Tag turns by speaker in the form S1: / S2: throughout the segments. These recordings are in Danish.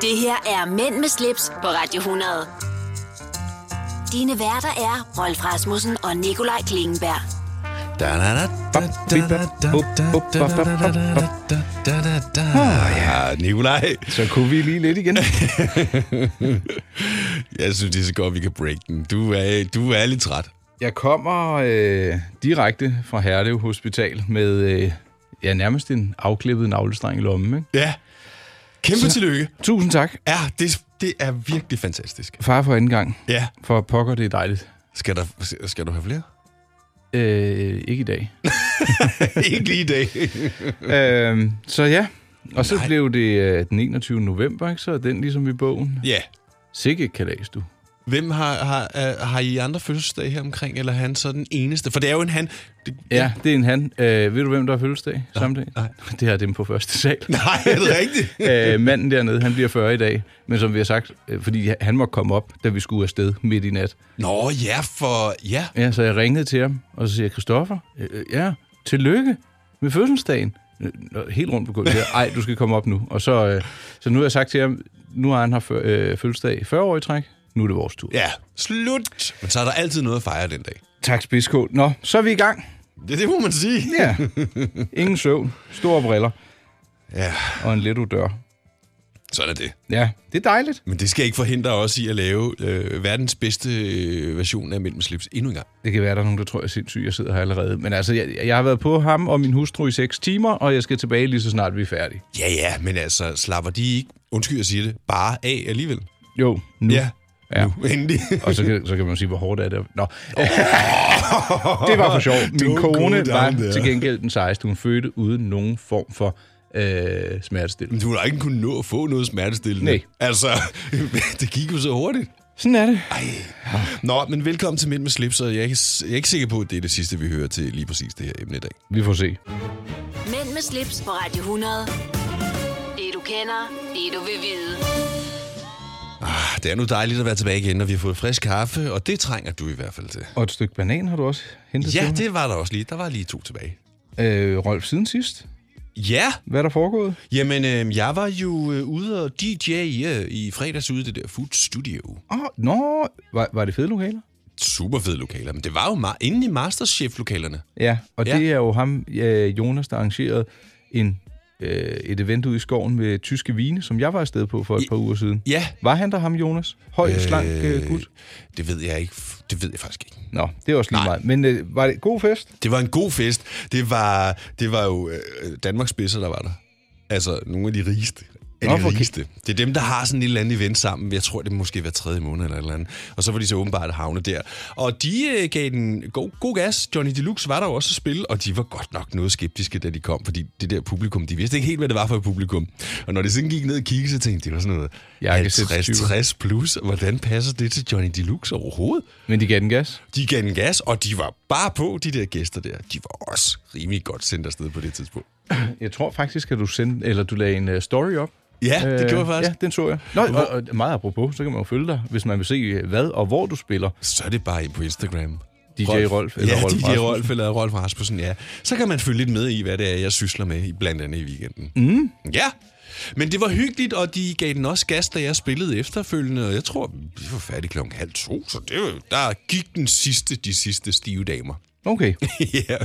S1: Det her er Mænd med slips på Radio 100. Dine værter er Rolf Rasmussen og Nikolaj Klingenberg.
S2: Da, da, da, da, da, da, da, da, da, da, da, da. Ah, Nikolaj,
S3: Så kunne vi lige lidt igen.
S2: jeg synes, det er så godt, vi kan break den. Du er, du er lidt træt.
S3: Jeg kommer øh, direkte fra Herlev Hospital med øh, ja, nærmest en afklippet navlestreng i lommen. Ikke?
S2: Ja. Kæmpe så... tillykke.
S3: Tusind tak,
S2: Ja, det, det er virkelig fantastisk.
S3: far for anden gang.
S2: Ja.
S3: For pokker, det er dejligt.
S2: Skal, der, skal du have flere?
S3: Øh, ikke i dag.
S2: Ikke lige i dag.
S3: øh, så ja, og så
S2: Nej.
S3: blev det øh, den 21. november, ikke? så er den ligesom i bogen.
S2: ja.
S3: Sikke kalas, du.
S2: Hvem har, har, er- har I andre fødselsdage her omkring, eller er han så den eneste? For det er jo en han. Det,
S3: Ja, det er en han. Øh, ved du, hvem der har fødselsdag samme dag?
S2: nej.
S3: Det er dem på første sal.
S2: Nej, er det rigtigt?
S3: Øh, manden dernede, han bliver 40 i dag, men som vi har sagt, øh, fordi han må komme op, da vi skulle afsted midt i nat.
S2: Nå, ja, for... Ja.
S3: Ja, så jeg ringede til ham, og så siger jeg, Christoffer, øh, øh, ja, tillykke med fødselsdagen. Øh, nå, Helt rundt på gulvet. siger jeg, Ej, du skal komme op nu. Og så, øh, så nu har jeg sagt til ham, nu har han haft fø- øh, fødselsdag i 40 år i træk, nu er det vores tur.
S2: Ja, slut. Men så er der altid noget at fejre den dag.
S3: Tak, Spidskål. Nå, så er vi i gang.
S2: Det, det må man sige.
S3: Ja. Ingen søvn, store briller
S2: Ja,
S3: og en lidt dør.
S2: sådan er det.
S3: Ja, det er dejligt.
S2: Men det skal ikke forhindre os i at lave øh, verdens bedste øh, version af Mellem Slips endnu en gang.
S3: Det kan være, der er nogen, der tror, jeg er sindssyg, jeg sidder her allerede. Men altså, jeg, jeg har været på ham og min hustru i 6 timer, og jeg skal tilbage lige så snart vi er færdige.
S2: Ja, ja, men altså, slapper de ikke, undskyld, jeg siger det, bare af alligevel?
S3: Jo, nu.
S2: Ja,
S3: Ja.
S2: nu, endelig.
S3: Og så kan, så kan man sige, hvor hårdt er det. Nå. det var for sjov.
S2: Det var
S3: Min
S2: en god
S3: kone var
S2: dame, det er.
S3: til gengæld den sejeste. Hun fødte uden nogen form for øh, smertestillende.
S2: Men du har da ikke kunnet nå at få noget smertestillende.
S3: Nej.
S2: Altså, det gik jo så hurtigt.
S3: Sådan er det.
S2: Nå, men velkommen til Mænd med slips, og jeg er, ikke, jeg er ikke sikker på, at det er det sidste, vi hører til lige præcis det her emne i dag.
S3: Vi får se.
S1: Mænd med slips på Radio 100. Det du kender, det du vil vide.
S2: Ah, Det er nu dejligt at være tilbage igen, når vi har fået frisk kaffe, og det trænger du i hvert fald til.
S3: Og et stykke banan har du også hentet
S2: Ja,
S3: til
S2: det var der også lige. Der var lige to tilbage.
S3: mig. Øh, Rolf, siden sidst,
S2: Ja,
S3: hvad er der foregået?
S2: jamen øh, jeg var jo øh, ude og DJ øh, i fredags ude i det der Food Studio.
S3: Åh, oh, nå, var, var det fede lokaler?
S2: Super fede lokaler, men det var jo ma- inde i Masterchef-lokalerne.
S3: Ja, og
S2: Ja.
S3: ja. det er jo ham, øh, Jonas, der arrangerede en, øh, et event ude i skoven med tyske vine, som jeg var afsted på for et par uger siden.
S2: Ja.
S3: Var han der, ham Jonas? Høj, øh, slank øh, gut?
S2: Det ved jeg ikke. Det ved jeg faktisk ikke.
S3: Nå, det er også lige meget. Men øh, var det god fest?
S2: Det var en god fest. Det var, det var jo øh, Danmarks spidser, der var der. Altså, nogle af de rigeste. Af
S3: Nå,
S2: de
S3: hvor kæ-
S2: rigeste. Det er dem, der har sådan et eller andet event sammen. Jeg tror, det måske var tredje måned eller et eller andet. Og så var de så åbenbart havnet der. Og de øh, gav den god, god gas. Johnny Deluxe var der jo også at spille, og de var godt nok noget skeptiske, da de kom. Fordi det der publikum, de vidste ikke helt, hvad det var for et publikum. Og når de sådan gik ned og kiggede, så tænkte de, det var sådan noget
S3: Jakkesæt
S2: 50,
S3: 20.
S2: 60 plus. Hvordan passer det til Johnny Deluxe overhovedet?
S3: Men de gav den gas.
S2: De gav den gas, og de var bare på, de der gæster der. De var også rimelig godt sendt afsted på det tidspunkt.
S3: Jeg tror faktisk, at du sendte, eller du lagde en øh, story op.
S2: Ja, det gjorde jeg faktisk.
S3: Øh, Ja, den så jeg. Nå, og, og meget apropos, så kan man jo følge dig, hvis man vil se, øh, hvad og hvor du spiller.
S2: Så er det bare ind på Instagram.
S3: DJ Rolf eller
S2: ja,
S3: Rolf
S2: DJ
S3: Rasmussen.
S2: Rolf eller Rolf Rasmussen, ja. Så kan man følge lidt med i, hvad det er, jeg sysler med, i- blandt andet i weekenden. Mm. Ja, men det var hyggeligt, og de gav den også gas, da jeg spillede efterfølgende, og jeg tror, vi var færdige klokken halv to, så det var, der gik den sidste, de sidste stive damer.
S3: Okay.
S2: ja,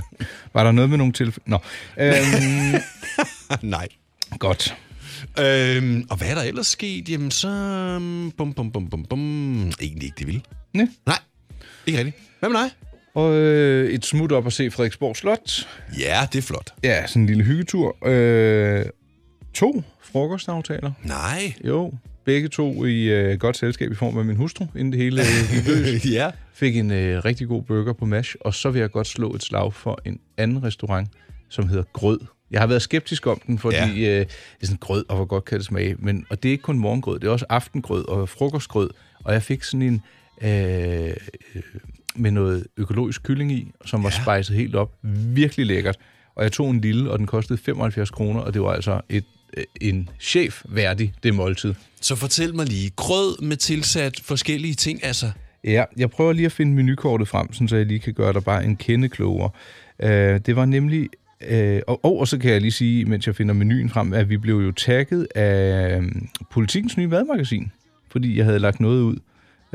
S3: Var der noget med nogle tilfælde? Nå. Øhm,
S2: nej.
S3: godt.
S2: Øhm, og hvad er der ellers sket? Jamen så... øhm, Bum, bum, bum, bum, bum. Egentlig ikke det vilde.
S3: Næ.
S2: Nej, ikke rigtigt. Hvad med dig?
S3: Og øh, et smut op og se Frederiksborg Slot.
S2: Ja, det er flot.
S3: Ja, sådan en lille hyggetur. Øh, to frokostaftaler.
S2: Nej.
S3: Jo, begge to i øh, godt selskab i form af min hustru, inden det hele øh, gik løs.
S2: ja.
S3: Fik en øh, rigtig god burger på MASH, og så vil jeg godt slå et slag for en anden restaurant, som hedder Grød. Jeg har været skeptisk om den, fordi
S2: Ja.
S3: ja. øh, det er sådan grød, og hvor godt kan det smage. Men, og det er ikke kun morgengrød, det er også aftengrød og frokostgrød. Og jeg fik sådan en øh, øh, med noget økologisk kylling i, som var ja. spejset helt op. Virkelig lækkert. Og jeg tog en lille, og den kostede 75 kroner, og det var altså et, øh, en chef værdig, det måltid.
S2: Så fortæl mig lige. Grød med tilsat forskellige ting, altså.
S3: Ja, jeg prøver lige at finde menukortet frem, sådan så jeg lige kan gøre dig bare en kende klogere. Øh, det var nemlig Øh, og, og, og så kan jeg lige sige, mens jeg finder menuen frem, at vi blev jo tagget af øhm, Politikens nye madmagasin, fordi jeg havde lagt noget ud.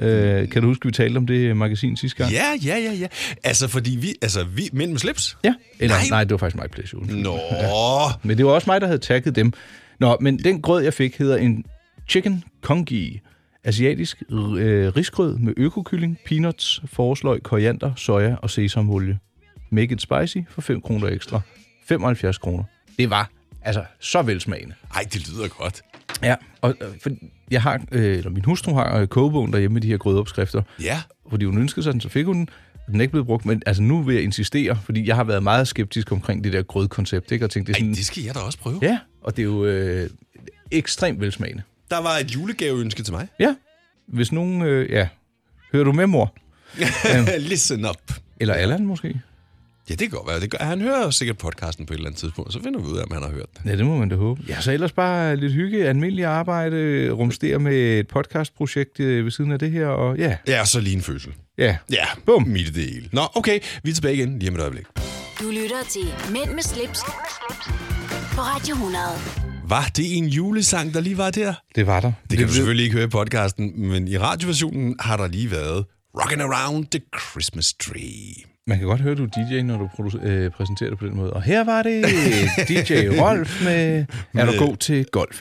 S3: Øh, kan du huske, vi talte om det øh, magasin sidste gang?
S2: Ja, ja, ja, ja. Altså, fordi vi... Altså, vi... Mænd med slips?
S3: Ja. Eller,
S2: Nej.
S3: nej. nej, det var faktisk mig, Pleasure.
S2: Nå.
S3: Men det var også mig, der havde tagget dem. Nå, men den grød, jeg fik, hedder en chicken kongi. Asiatisk øh, risgrød med økokylling, peanuts, forsløg, koriander, soja og sesamolie. Make it spicy for 5 kroner ekstra. 75 kroner. Det var altså så velsmagende.
S2: Ej, det lyder godt.
S3: Ja, og øh, for jeg har, øh, eller min hustru har øh, kogebogen derhjemme med de her grødeopskrifter
S2: Ja.
S3: fordi hun ønskede sig den, så fik hun den. Den er ikke blevet brugt, men altså nu vil jeg insistere, fordi jeg har været meget skeptisk omkring det der grødkoncept, ikke? Og tænkte, det er
S2: Ej,
S3: sådan,
S2: det skal jeg da også prøve.
S3: ja, og det er jo øh, ekstremt velsmagende.
S2: Der var et julegaveønske til mig.
S3: Ja, hvis nogen, øh, ja, hører du med, mor?
S2: Listen up.
S3: Eller Allan måske?
S2: Ja, det kan godt være. Det gør. Han hører sikkert podcasten på et eller andet tidspunkt, så finder vi ud af, om han har hørt det.
S3: Ja, det må man da håbe. Ja, så ellers bare lidt hygge, almindelig arbejde, rumstere med et podcastprojekt øh, ved siden af det her, og ja,
S2: Ja, så lige en fødsel.
S3: ja.
S2: Ja,
S3: Bum.
S2: midt i det hele. Nå, okay, vi er tilbage igen lige om et øjeblik.
S1: Du lytter til Mænd med slips, på Radio 100.
S2: Var det en julesang, der lige var der?
S3: Det var der.
S2: Det kan du selvfølgelig ikke høre i podcasten, men i radioversionen har der lige været Rockin' Around the Christmas Tree.
S3: Man kan godt høre, du er DJ, når du produ- øh, præsenterer det på den måde. Og her var det DJ Rolf med... Er du god til golf?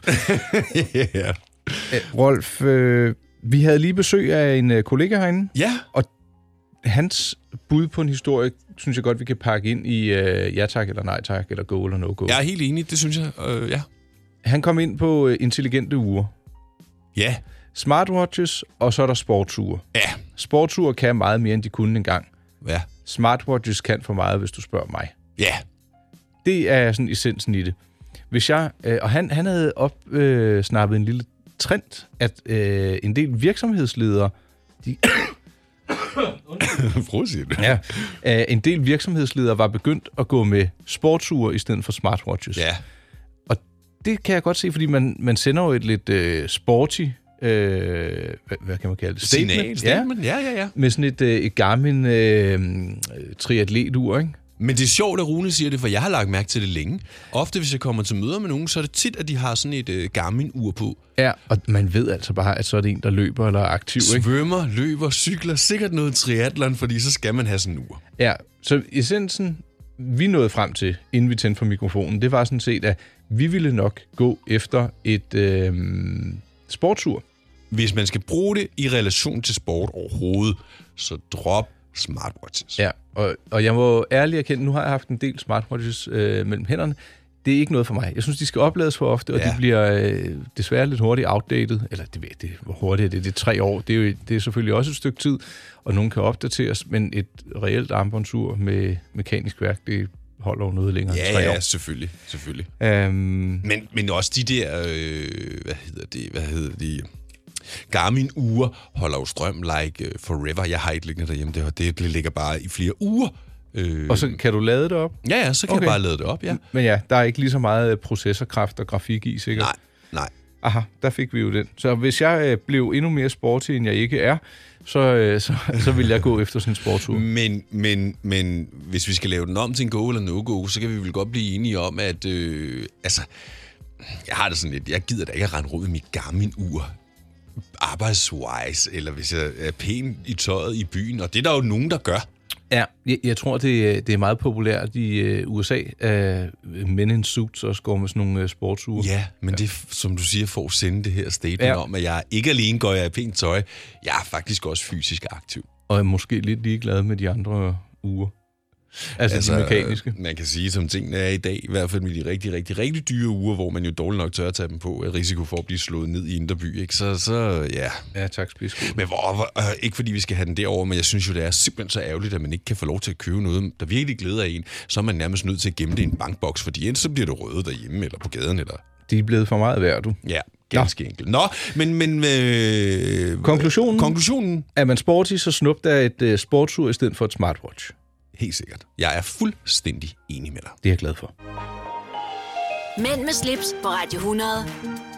S2: yeah.
S3: Øh, Rolf, øh, vi havde lige besøg af en øh, kollega herinde.
S2: Ja,
S3: Hans bud på en historie, synes jeg godt, vi kan pakke ind i øh, ja tak eller nej tak, eller go eller no go.
S2: jeg er helt enig, det synes jeg. Øh, ja.
S3: Han kom ind på øh, intelligente uger.
S2: Ja,
S3: Smartwatches, og så er der sportsure.
S2: ja,
S3: Sportsure kan meget mere, end de kunne engang.
S2: ja,
S3: Smartwatches kan for meget, hvis du spørger mig.
S2: ja.
S3: Det er sådan essensen i det. Hvis jeg, øh, og han, han havde opsnappet øh, snappet en lille trend, at øh, en del virksomhedsledere, de,
S2: Prøv at sige det.
S3: ja, øh, en del virksomhedsledere var begyndt at gå med sportsure i stedet for smartwatches.
S2: Ja,
S3: Og det kan jeg godt se, fordi man, man sender jo et lidt øh, sporty, øh, hvad, hvad kan man kalde det?
S2: signal,
S3: Ja,
S2: statement. Ja, ja, ja.
S3: med sådan et, øh, et Garmin øh, triatletur, ikke?
S2: Men det er sjovt, at Rune siger det, for jeg har lagt mærke til det længe. Ofte, hvis jeg kommer til møder med nogen, så er det tit, at de har sådan et øh, Garmin-ur på.
S3: Ja, og man ved altså bare, at så er det en, der løber eller er aktiv, ikke?
S2: Svømmer, løber, cykler, sikkert noget triatlon, fordi så skal man have sådan en ur.
S3: Ja, så essensen, vi nåede frem til, inden vi tændte for mikrofonen, det var sådan set, at vi ville nok gå efter et øh, sportsur.
S2: Hvis man skal bruge det i relation til sport overhovedet, så drop smartwatches.
S3: Ja, og, og jeg må ærligt erkende, nu har jeg haft en del smartwatches øh, mellem hænderne. Det er ikke noget for mig. Jeg synes, de skal oplades for ofte, og
S2: Ja.
S3: ja. de bliver øh, desværre lidt hurtigt outdated. Eller det, ved jeg- det, hvor hurtigt er det? Det er tre år. Det er, jo, det er selvfølgelig også et stykke tid, og nogen kan opdateres, men et reelt armbåndsur med mekanisk værk, det holder jo noget længere end
S2: Ja,
S3: tre
S2: ja,
S3: år.
S2: selvfølgelig, selvfølgelig.
S3: Øhm,
S2: Men, men også de der, øh, hvad hedder det, hvad hedder de, garmin ure holder jo strøm like øh, forever. Jeg har et liggende derhjemme, det, det ligger bare i flere uger. Øh,
S3: og så kan du lade det op?
S2: ja, ja, så kan okay.
S3: Okay. Mm.
S2: jeg bare lade det op, ja.
S3: Men ja, der er ikke lige så meget øh, processorkraft og grafik i, sikkert.
S2: Nej, nej.
S3: Aha, der fik vi jo den. Så hvis jeg øh, blev endnu mere sporty, end jeg ikke er, så, øh, så, så vil jeg gå efter sådan en sportur.
S2: Men, men, men hvis vi skal lave den om til en go eller no-go, så kan vi vel godt blive enige om, at øh, altså, jeg har det sådan lidt, jeg gider da ikke at rende rundt i mit Garmin-ur arbejdswise, eller hvis jeg er pæn i tøjet i byen, og det er der jo nogen, der gør.
S3: Ja, jeg, jeg tror, det, øh, det er meget populært i øh, USA. Øh, men in suits også går med sådan nogle øh, sportsure.
S2: Ja, men det, er, som du siger, for at sende det her statement ja.
S3: Ja.
S2: om, at jeg ikke alene går jeg i pænt tøj, jeg er faktisk også fysisk aktiv.
S3: Og er måske lidt ligeglad med de andre uger. Altså, altså de mekaniske.
S2: øh, Man kan sige, som tingene er i dag, i hvert fald med de rigtig, rigtig, rigtig dyre uger, hvor man jo dårligt nok tør at tage dem på, er risiko for at blive slået ned i indre by, ikke? Så, så ja.
S3: Ja, tak, spidskud.
S2: Men hvor, hvor, øh, ikke fordi vi skal have den derover, men jeg synes jo, det er simpelthen så ærgerligt, at man ikke kan få lov til at købe noget, der virkelig glæder en. Så er man nærmest nødt til at gemme det i en bankboks, fordi enten så bliver det røde derhjemme, eller på gaden, eller...
S3: De er blevet for meget værd, du.
S2: Ja, ganske enkelt. Nå, men... men øh,
S3: Konklusionen?
S2: Konklusionen?
S3: Er man sporty, så snup der et øh, sportsur i stedet for et smartwatch.
S2: Helt sikkert. Jeg er fuldstændig enig med dig.
S3: Det er jeg glad for.
S1: Mænd med slips på Radio 100.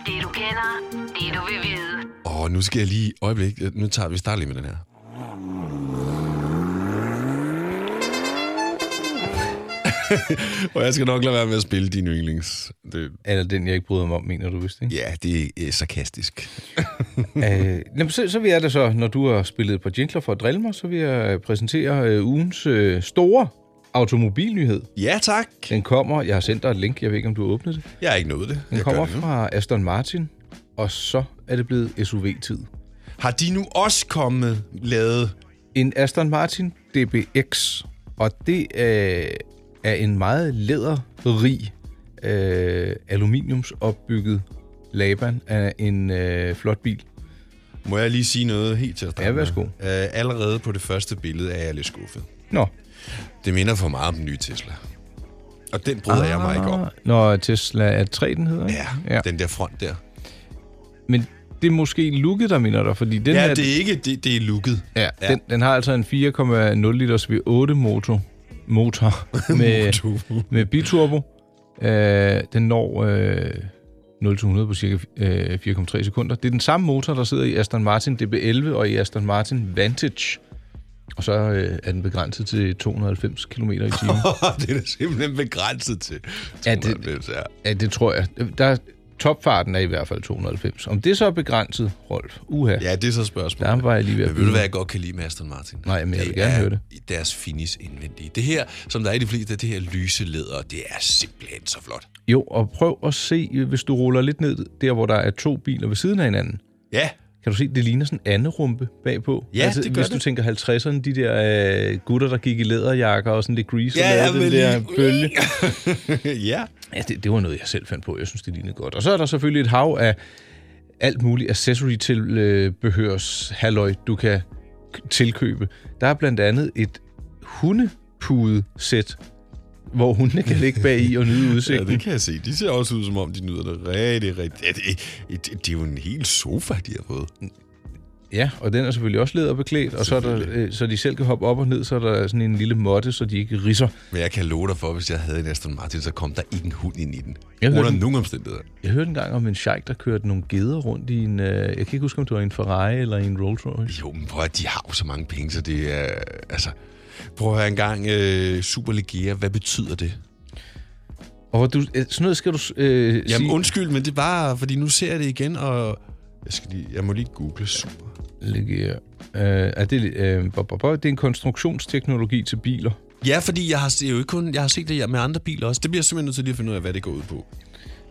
S1: Det du kender, det du vil vide.
S2: Og nu skal jeg lige... Øjeblik, øh, nu tager vi starter lige med den her. og jeg skal nok lade være med at spille din yndlings. Det,
S3: Eller den, jeg ikke bryder mig om, mener du vist, ikke?
S2: ja, det er øh, sarkastisk.
S3: Øh, jamen, så, så vil jeg da så, når du har spillet et par jingler for at drille mig, så vil jeg øh, præsentere øh, ugens øh, store automobilnyhed.
S2: Ja, tak.
S3: Den kommer, jeg har sendt dig et link, jeg ved ikke, om du har åbnet det.
S2: Jeg har ikke nået det.
S3: Den
S2: Jeg
S3: kommer
S2: gør det nu.
S3: fra Aston Martin, og så er det blevet SUV-tid.
S2: Har de nu også kommet lavet?
S3: En Aston Martin DBX, og det øh, er en meget læderrig øh, aluminiumsopbygget Laban af en øh, flot bil.
S2: Må jeg lige sige noget helt til at starte
S3: Ja,
S2: med?
S3: værsgo.
S2: Øh, allerede på det første billede er jeg lidt skuffet.
S3: Nå,
S2: Det minder for meget om den nye Tesla. Og den bryder ah. jeg mig ikke om.
S3: Når Tesla er 3, den hedder, ikke?
S2: Ja, ja, den der front der.
S3: Men det er måske looket, der minder dig, fordi den
S2: Ja,
S3: her,
S2: det er ikke, det, det er looket.
S3: ja, Den, den har altså en 4,0 liters V8 motor, motor
S2: Øh,
S3: med, med biturbo. Øh, den når øh, 0-100 på cirka øh, 4,3 sekunder. Det er den samme motor, der sidder i Aston Martin DB11 og i Aston Martin Vantage. Og så øh, er den begrænset til 290 km i timen.
S2: det er da simpelthen begrænset til.
S3: Ja, det-
S2: 290, ja.
S3: Ja, det tror jeg. Der, topfarten er i hvert fald 290. Om det så er begrænset, Rolf? Uha.
S2: ja, det er så spørgsmålet.
S3: Der var jeg lige ved at
S2: Men ved du, hvad jeg godt kan lide med Aston Martin?
S3: Nej, men jeg vil
S2: Det
S3: gerne
S2: er
S3: høre det.
S2: deres finish indvendige. Det her, som der er i de fleste, det her lyse læder, det er simpelthen så flot.
S3: Jo, og prøv at se, øh, hvis du ruller lidt ned der, hvor der er to biler ved siden af hinanden.
S2: Ja,
S3: Kan du se, det ligner sådan en anderumpe bagpå? Altså,
S2: Ja, det gør
S3: Hvis
S2: det.
S3: du tænker 50'erne, de der øh, gutter, der gik i læderjakker og sådan lidt grease
S2: Ja,
S3: og
S2: ja,
S3: lavede den der
S2: men
S3: lige... bølge.
S2: ja.
S3: Ja, det, det var noget, jeg selv fandt på. Jeg synes, det lignede godt. Og så er der selvfølgelig et hav af alt muligt accessory til øh, behørs halløj, du kan k- tilkøbe. Der er blandt andet et hundepudesæt, hvor hundene kan ligge bag i og nyde
S2: ja,
S3: udsigten.
S2: det kan jeg se. De ser også ud, som om de nyder det rigtig, rigtig. Ja, det, det, det er jo en hel sofa, de har fået.
S3: Ja, og den er selvfølgelig også læderbeklædt, og så, er der, øh, så de selv kan hoppe op og ned, så er der sådan en lille måtte, så de ikke risser.
S2: Men jeg kan love dig for, hvis jeg havde en Aston Martin, så kom der ikke en hund ind i den.
S3: Jeg hørte
S2: Under
S3: den.
S2: nogen omstændigheder.
S3: Jeg hørte engang om en sheik, der kørte nogle geder rundt i en... Øh, jeg kan ikke huske, om det var en Ferrari eller en Rolls Royce.
S2: Jo, men prøv at, de har jo så mange penge, så det er... Altså, prøv at høre engang, øh, Superligere, hvad betyder det?
S3: Og hvor du, øh, sådan noget skal du øh,
S2: Jamen
S3: sige...
S2: undskyld, men det er bare, fordi nu ser jeg det igen, og jeg, skal lige, jeg må lige google super.
S3: Legere. Øh, er det, øh, bo, bo, bo, det er en konstruktionsteknologi til biler.
S2: Ja, fordi jeg har, det er jo ikke kun, jeg har set det med andre biler også. Det bliver jeg simpelthen nødt til lige at finde ud af, hvad det går ud på.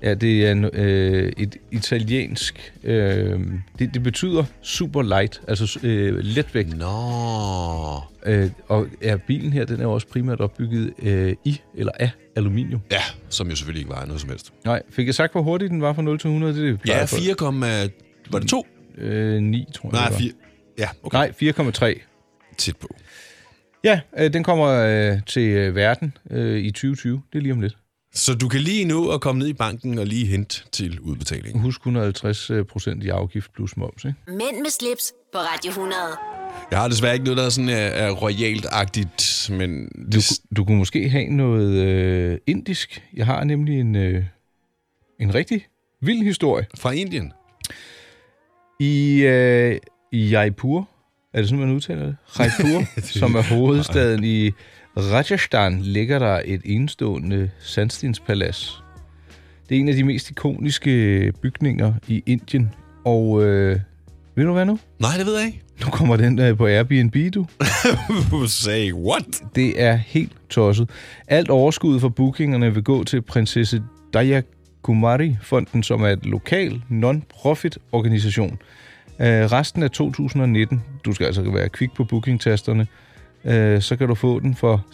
S3: Ja, det er en, øh, et italiensk... Øh, det, det betyder super light, altså øh, letvægt.
S2: Nå.
S3: Øh, og er bilen her, den er jo også primært opbygget øh, i eller af aluminium.
S2: Ja, som jo selvfølgelig ikke var noget som helst.
S3: Nej, fik jeg sagt, hvor hurtigt den var fra 0 til 100? Det er det, vi
S2: Ja,
S3: plejer at få.
S2: 4, var det 2?
S3: Øh, 9, tror jeg. det
S2: Nej,
S3: var.
S2: 4. Ja, okay.
S3: Nej, 4,3.
S2: Tæt på.
S3: Ja, øh, den kommer øh, til øh, verden øh, i 2020. Det er lige om lidt.
S2: Så du kan lige nå at komme ned i banken og lige hente til udbetalingen.
S3: Husk 150 øh, procent i afgift plus moms, ikke?
S1: Mænd med slips på Radio 100.
S2: Jeg har desværre ikke noget, der er sådan er, er royalt-agtigt, men
S3: Du,
S2: det,
S3: du kunne måske have noget øh, indisk. Jeg har nemlig en, øh, en rigtig vild historie.
S2: fra Indien.
S3: I, øh, i Jaipur, er det sådan, man udtaler det? Jaipur, som er hovedstaden i Rajasthan, ligger der et enestående sandstenspalads. Det er en af de mest ikoniske bygninger i Indien, og øh, ved du hvad nu?
S2: Nej, det ved jeg ikke.
S3: Nu kommer den øh, på Airbnb, du.
S2: Say what?
S3: Det er helt tosset. Alt overskuddet fra bookingerne vil gå til prinsesse Daya Kumari Fonden, som er et lokal non-profit organisation. Øh, resten af 2019, du skal altså være kvik på bookingtasterne, øh, så kan du få den for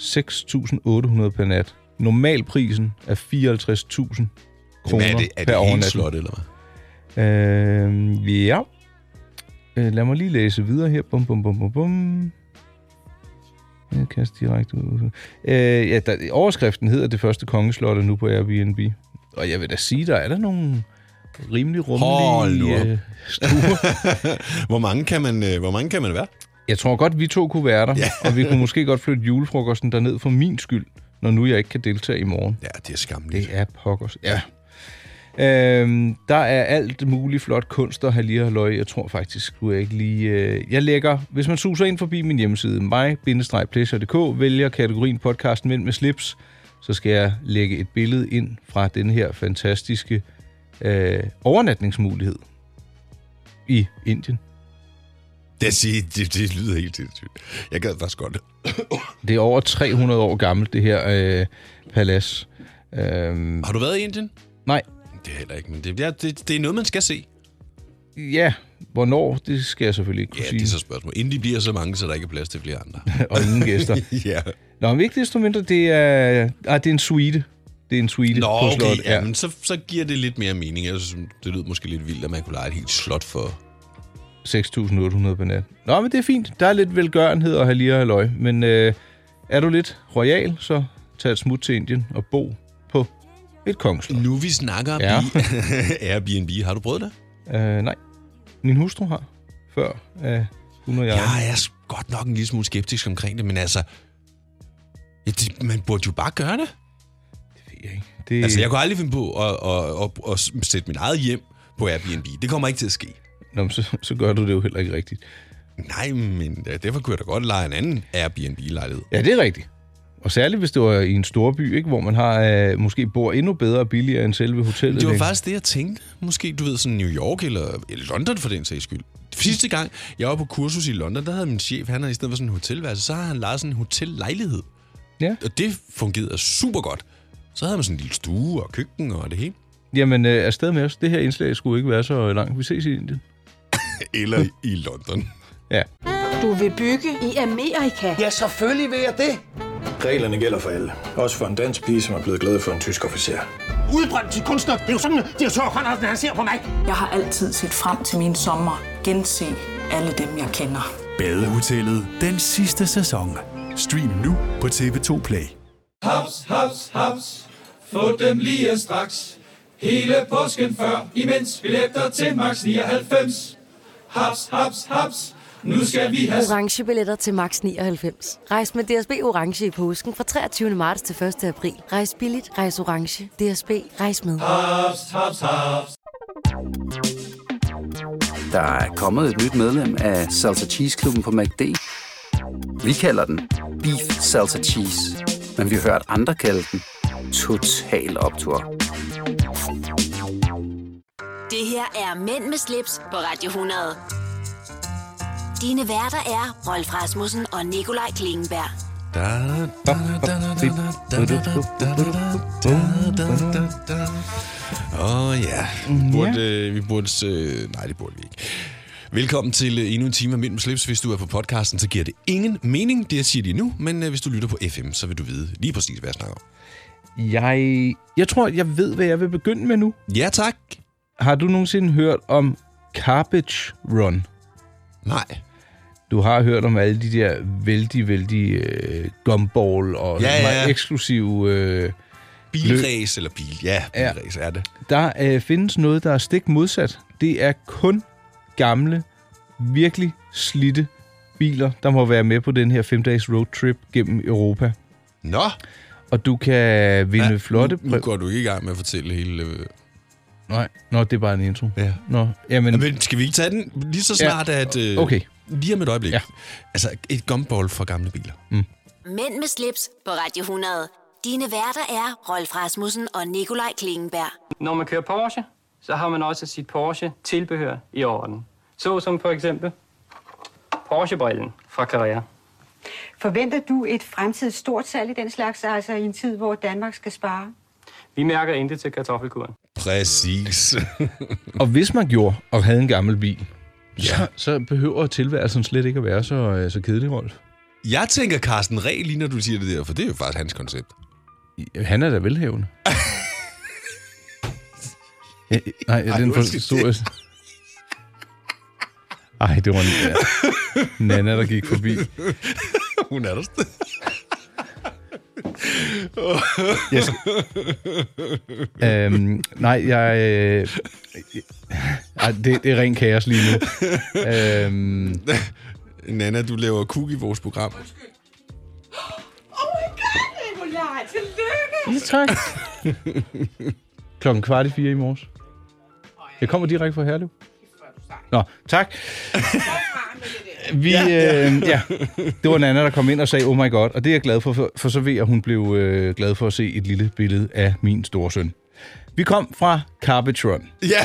S3: 6.800 per nat. Normalprisen er 54.000 kroner
S2: Jamen, er det, er
S3: per
S2: det helt
S3: overnatning.
S2: slot, eller hvad?
S3: Øh, ja. Øh, lad mig lige læse videre her. Bum, bum, bum, bum, bum. Jeg kaster direkte ud. Øh, ja, der, overskriften hedder Det første kongeslot er nu på Airbnb. Og jeg vil da sige, der er der nogle rimelig
S2: Hold nu
S3: rummelige
S2: op.
S3: øh, stuer.
S2: Hvor mange kan man, øh, hvor mange kan man være?
S3: Jeg tror godt, vi to kunne være der,
S2: Ja.
S3: og vi kunne måske godt flytte julefrokosten derned for min skyld, når nu jeg ikke kan deltage i morgen.
S2: Ja, det er skamligt.
S3: Det er pokkers. Ja. Øhm, der er alt muligt flot kunst og halli og løg. Jeg tror faktisk, skulle jeg ikke lige... Øh, jeg lægger, hvis man suser ind forbi min hjemmeside, mig-pleasure.dk, vælger kategorien podcasten Mænd med slips, så skal jeg lægge et billede ind fra den her fantastiske øh, overnatningsmulighed i Indien.
S2: Det, siger, det, det lyder helt sindssygt. Jeg gad faktisk godt.
S3: Det er over 300 år gammelt, det her øh, palads. Øhm,
S2: Har du været i Indien?
S3: nej,
S2: Det er heller ikke, men det, ja, det, det er noget, man skal se.
S3: ja, hvornår, det skal jeg selvfølgelig ikke kunne
S2: Ja,
S3: sige.
S2: det er så spørgsmålet. Inden de bliver så mange, så der ikke er plads til flere andre.
S3: og ingen gæster.
S2: ja.
S3: Nå, men ikke desto mindre, det er, ah, det er en suite. Det er en suite
S2: Nå,
S3: på
S2: okay.
S3: slottet.
S2: Ja, men så, så giver det lidt mere mening. Jeg synes, det lyder måske lidt vildt, at man kunne lege et helt slot for...
S3: 6.800 per nat. Nå, men det er fint. Der er lidt velgørenhed og halvire og løg. Men øh, er du lidt royal, så tag et smut til Indien og bo på et kongslot.
S2: Nu vi snakker
S3: Ja.
S2: ja. Airbnb. Har du prøvet det?
S3: Øh, nej, min hustru har før øh, hun og jeg. Ja.
S2: Jeg er s- godt nok en lille smule skeptisk omkring det, men altså... Ja, det, man burde jo bare gøre det.
S3: Det ved jeg ikke. Det,
S2: Altså, jeg kunne aldrig finde på at, at, at, at, at sætte mit eget hjem på Airbnb. Det kommer ikke til at ske.
S3: Nå, men så, så gør du det jo heller ikke rigtigt.
S2: Nej, men øh, derfor kunne jeg da godt lege en anden Airbnb-lejlighed.
S3: Ja, det er rigtigt. Og særligt, hvis det var i en storby, ikke, hvor man har øh, måske bor endnu bedre og billigere end selve hotellet.
S2: Det var
S3: ikke?
S2: faktisk det, jeg tænkte. Måske, du ved, sådan New York eller eller London for den sags skyld. Sidste gang, jeg var på kursus i London, der havde min chef, han havde i stedet for sådan en hotelværelse, så havde han lejet sådan en hotellejlighed.
S3: Ja.
S2: Og det fungerede super godt. Så havde man sådan en lille stue og køkken og det hele.
S3: Jamen, øh, afsted med os. Det her indslag skulle ikke være så langt. Vi ses i Indien.
S2: Eller i London.
S3: Ja.
S4: Du vil bygge i Amerika?
S5: Ja, selvfølgelig vil jeg det.
S6: Reglerne gælder for alle. Også for en dansk pige, som er blevet glad for en tysk officer.
S7: udbrændt til kunstner. Det er jo sådan, at direktør Conradsen, han ser på mig.
S8: Jeg har altid set frem til min sommer, gense alle dem, jeg kender.
S9: Badehotellet den sidste sæson. Stream nu på TV2 Play.
S10: Haps, haps, haps. Få dem lige straks. Hele påsken før, imens billetter til max 99. Haps, haps, haps. Nu skal vi have
S11: Orange billetter til max 99. Rejs med DSB Orange i påsken fra 23. marts til 1. april. Rejs billigt, rejs orange. DSB, rejs med.
S10: haps, haps, haps.
S12: Der er kommet et nyt medlem af Salsa Cheese Klubben på MACD. Vi kalder den Beef Salsa Cheese, men vi har hørt andre kalde den Total Optor.
S1: Det her er Mænd med slips på Radio 100. Dine værter er Rolf Rasmussen og Nikolaj Klingenberg.
S2: Åh oh, ja, burde, øh, vi burde... Øh, nej, det burde vi ikke. Velkommen til øh, endnu en time af Mænd med slips. Hvis du er på podcasten, så giver det ingen mening, det jeg siger lige nu. Men øh, hvis du lytter på FM, så vil du vide lige præcis, hvad jeg snakker om.
S3: Jeg, jeg tror, jeg ved, hvad jeg vil begynde med nu.
S2: Ja tak.
S3: Har du nogensinde hørt om Carpage Run?
S2: Nej.
S3: Du har hørt om alle de der vældig, vældig øh, gumball og
S2: Ja, ja, ja.
S3: meget eksklusive... Øh,
S2: Bilræs eller bil. Ja,
S3: Ja.
S2: bilræs er det.
S3: der øh, findes noget, der er stik modsat. Det er kun gamle, virkelig slitte biler, der må være med på den her 5-dages roadtrip gennem Europa.
S2: Nå,
S3: Og du kan vinde ja, flotte...
S2: nu, nu går du ikke i gang med at fortælle hele... Øh,
S3: Nej, nå, det er bare en intro.
S2: ja.
S3: Nå, jamen,
S2: Men skal vi ikke tage den lige så
S3: Ja.
S2: snart, ja. at... Øh,
S3: okay.
S2: Lige om et øjeblik.
S3: Ja.
S2: Ja. Altså, et gumball for gamle biler.
S1: Mænd med slips på Radio 100. Dine værter er Rolf Rasmussen og Nikolaj Klingenberg.
S7: Når man kører Porsche, så har man også sit Porsche-tilbehør i orden. Så som for eksempel Porsche-brillen fra Carrera.
S4: Forventer du et fremtidigt stort salg i den slags, altså i en tid, hvor Danmark skal spare?
S7: Vi mærker intet til kartoffelkuren.
S2: Præcis.
S3: Og hvis man gjorde og havde en gammel bil, ja. så, så behøver tilværelsen slet ikke at være så, øh, så kedelig, Rolf.
S2: Jeg tænker Carsten Reh lige når du siger det der, for det er jo faktisk hans koncept.
S3: Han er da velhævende. ja, nej,
S2: Ej,
S3: Ej, den
S2: undskyld.
S3: forstod jeg. Ej, det var en ja. Nana, der gik forbi.
S2: Hun er der stadig.
S3: Jeg skal... øhm, nej, jeg... Øh... Ej, det, det er ren kaos lige nu. Øhm,
S2: Nana, du laver kug i vores program.
S3: Ja, tak. Klokken kvart i fire i morges. Jeg kommer direkte fra Herlev. Nå, tak. Vi, ja, ja. Øh, ja, det var Nana, der kom ind og sagde, oh my god, og det er jeg glad for, for, for så ved jeg, at hun blev øh, glad for at se et lille billede af min storsøn. Vi kom fra Carpetron.
S2: Ja.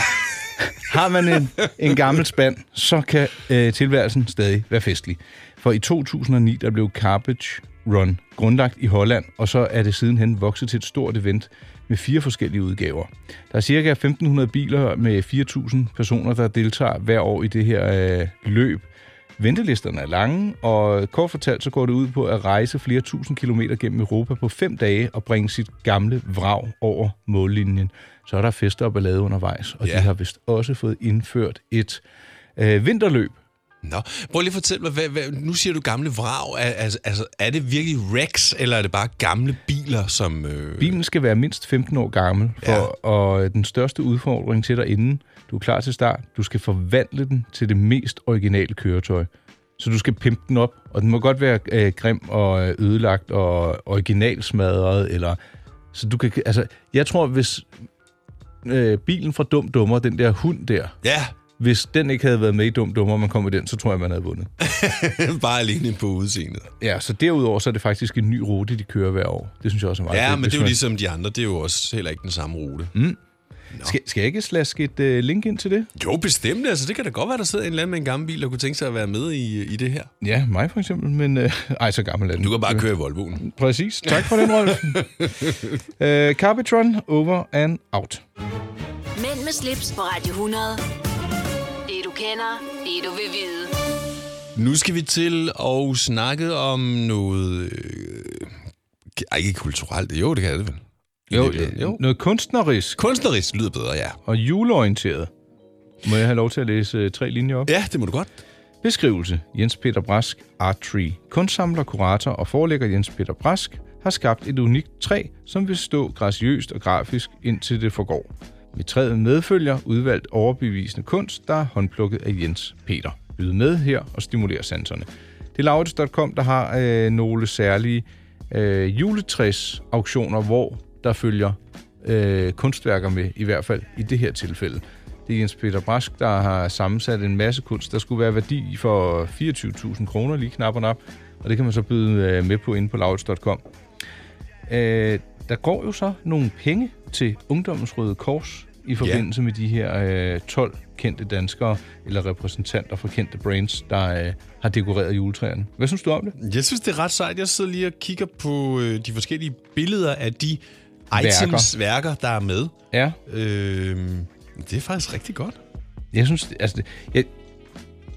S3: Har man en, en gammel spand, så kan øh, tilværelsen stadig være festlig. For i 2009, der blev Carpage Run grundlagt i Holland, og så er det sidenhen vokset til et stort event med fire forskellige udgaver. Der er cirka 1.500 biler med 4.000 personer, der deltager hver år i det her øh, løb. Ventelisterne er lange, og kort fortalt så går det ud på at rejse flere tusind kilometer gennem Europa på fem dage og bringe sit gamle vrag over mållinjen. Så er der fester og ballade undervejs, og ja. de har vist også fået indført et øh, vinterløb,
S2: Nå, prøv lige at fortælle mig, hvad, hvad, nu siger du gamle vrag, altså, altså er det virkelig Rex, eller er det bare gamle biler, som... Øh...
S3: Bilen skal være mindst 15 år gammel, for, ja. og øh, den største udfordring til dig inden, du er klar til start, du skal forvandle den til det mest originale køretøj. Så du skal pimpe den op, og den må godt være øh, grim og ødelagt og originalsmadret, eller... Så du kan... Altså, jeg tror, hvis øh, bilen fra Dum Dummer, den der hund der...
S2: Ja
S3: hvis den ikke havde været med i Dum Dummer, og man kom med den, så tror jeg, man havde vundet.
S2: Bare alene på udseendet.
S3: Ja, så derudover så er det faktisk en ny rute, de kører hver år. Det synes jeg også er meget
S2: Ja,
S3: fedt,
S2: men
S3: hvis
S2: det er jo
S3: man-
S2: ligesom de andre, det er jo også heller ikke den samme rute.
S3: Mm. Skal, skal jeg ikke slaske et øh, link ind til det?
S2: Jo, bestemt. Altså, det kan da godt være, der sidder en eller anden med en gammel bil, der kunne tænke sig at være med i, i det her.
S3: Ja, mig for eksempel, men øh, ej, så gammel er den.
S2: Du kan bare køre i Volvoen.
S3: Præcis. Tak for den, Rolf. øh, Carbitron, over and out.
S1: Mænd med slips på Radio 100. Det du kender, det du vil vide.
S2: Nu skal vi til at snakke om noget... Øh, ej, ikke kulturelt. Jo, det kan det vel. I
S3: Jo,
S2: virkeligheden.
S3: jo, øh, noget kunstnerisk.
S2: Kunstnerisk lyder bedre, ja.
S3: Og juleorienteret. Må jeg have lov til at læse øh, tre linjer op?
S2: Ja, det må du godt.
S3: Beskrivelse. Jens Peter Brask, Art Tree. Kunstsamler, kurator og forlægger Jens Peter Brask har skabt et unikt træ, som vil stå graciøst og grafisk indtil det forgår. Med træet medfølger udvalgt overbevisende kunst, der er håndplukket af Jens Peter. Byd med her og stimuler sanserne. Det er Laurits.com, der har øh, nogle særlige øh, juletræs-auktioner, hvor der følger øh, kunstværker med, i hvert fald i det her tilfælde. Det er Jens Peter Brask, der har sammensat en masse kunst, der skulle være værdi for 24.000 kroner, lige knapperne op. Og det kan man så byde øh, med på inde på lavets.com. Øh, der går jo så nogle penge til Ungdommens Røde Kors i forbindelse med de her øh, 12 kendte danskere, eller repræsentanter fra kendte brands, der øh, har dekoreret juletræerne. Hvad synes du om det?
S2: Jeg synes, det er ret sejt. Jeg sidder lige og kigger på øh, de forskellige billeder af de
S3: Værker.
S2: items, værker, der er med.
S3: Ja.
S2: Øhm, det er faktisk rigtig godt.
S3: Jeg synes, det- altså, det- jeg,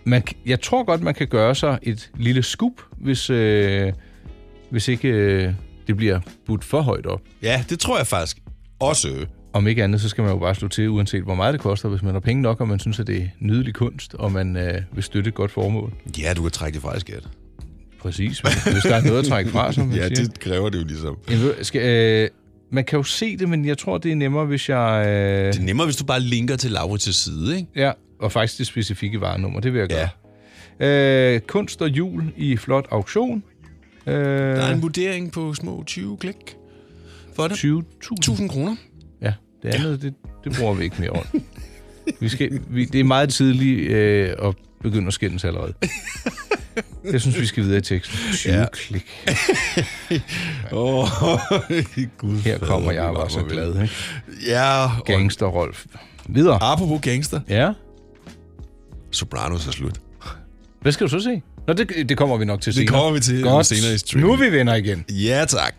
S3: man, k- jeg tror godt, man kan gøre sig et lille scoop, hvis, øh, hvis ikke øh, det bliver budt for højt op.
S2: Ja, det tror jeg faktisk også. øh,
S3: Om ikke andet, så skal man jo bare slå til, uanset hvor meget det koster, hvis man har penge nok, og man synes, at det er nydelig kunst, og man øh, vil støtte et godt formål.
S2: Ja, du kan trække det fra i skat.
S3: Præcis, hvis- hvis der er noget at trække fra, som man
S2: Ja,
S3: siger.
S2: det kræver det jo ligesom.
S3: Jeg ved- Skal, øh, man kan jo se det, men jeg tror, det er nemmere, hvis jeg... Øh,
S2: Det er nemmere, hvis du bare linker til Laurits' side, ikke?
S3: Ja, og faktisk det specifikke varenummer, det vil jeg gøre. Ja. Øh, kunst og jul i flot auktion. Øh,
S2: Der er en vurdering på små 20 klik for det.
S3: 20.000
S2: kroner.
S3: Ja, det andet, det, det bruger vi ikke mere om. Vi skal, vi, det er meget tidligt øh, at begynde at skændes allerede. Jeg synes, vi skal videre i teksten. 20
S2: Ja.
S3: ja. klik.
S2: Åh, gud.
S3: Her
S2: fader,
S3: kommer jeg
S2: det
S3: og var
S2: mig
S3: så
S2: vel.
S3: glad. Ikke?
S2: Ja. og-
S3: Gangster Rolf. Videre.
S2: Apropos gangster.
S3: Ja.
S2: Sopranos er slut.
S3: Hvad skal du så se? Nå, det, det kommer vi nok til
S2: Det
S3: senere.
S2: kommer vi til
S3: Godt.
S2: senere i streamen.
S3: Nu er vi venner igen.
S2: Ja, tak.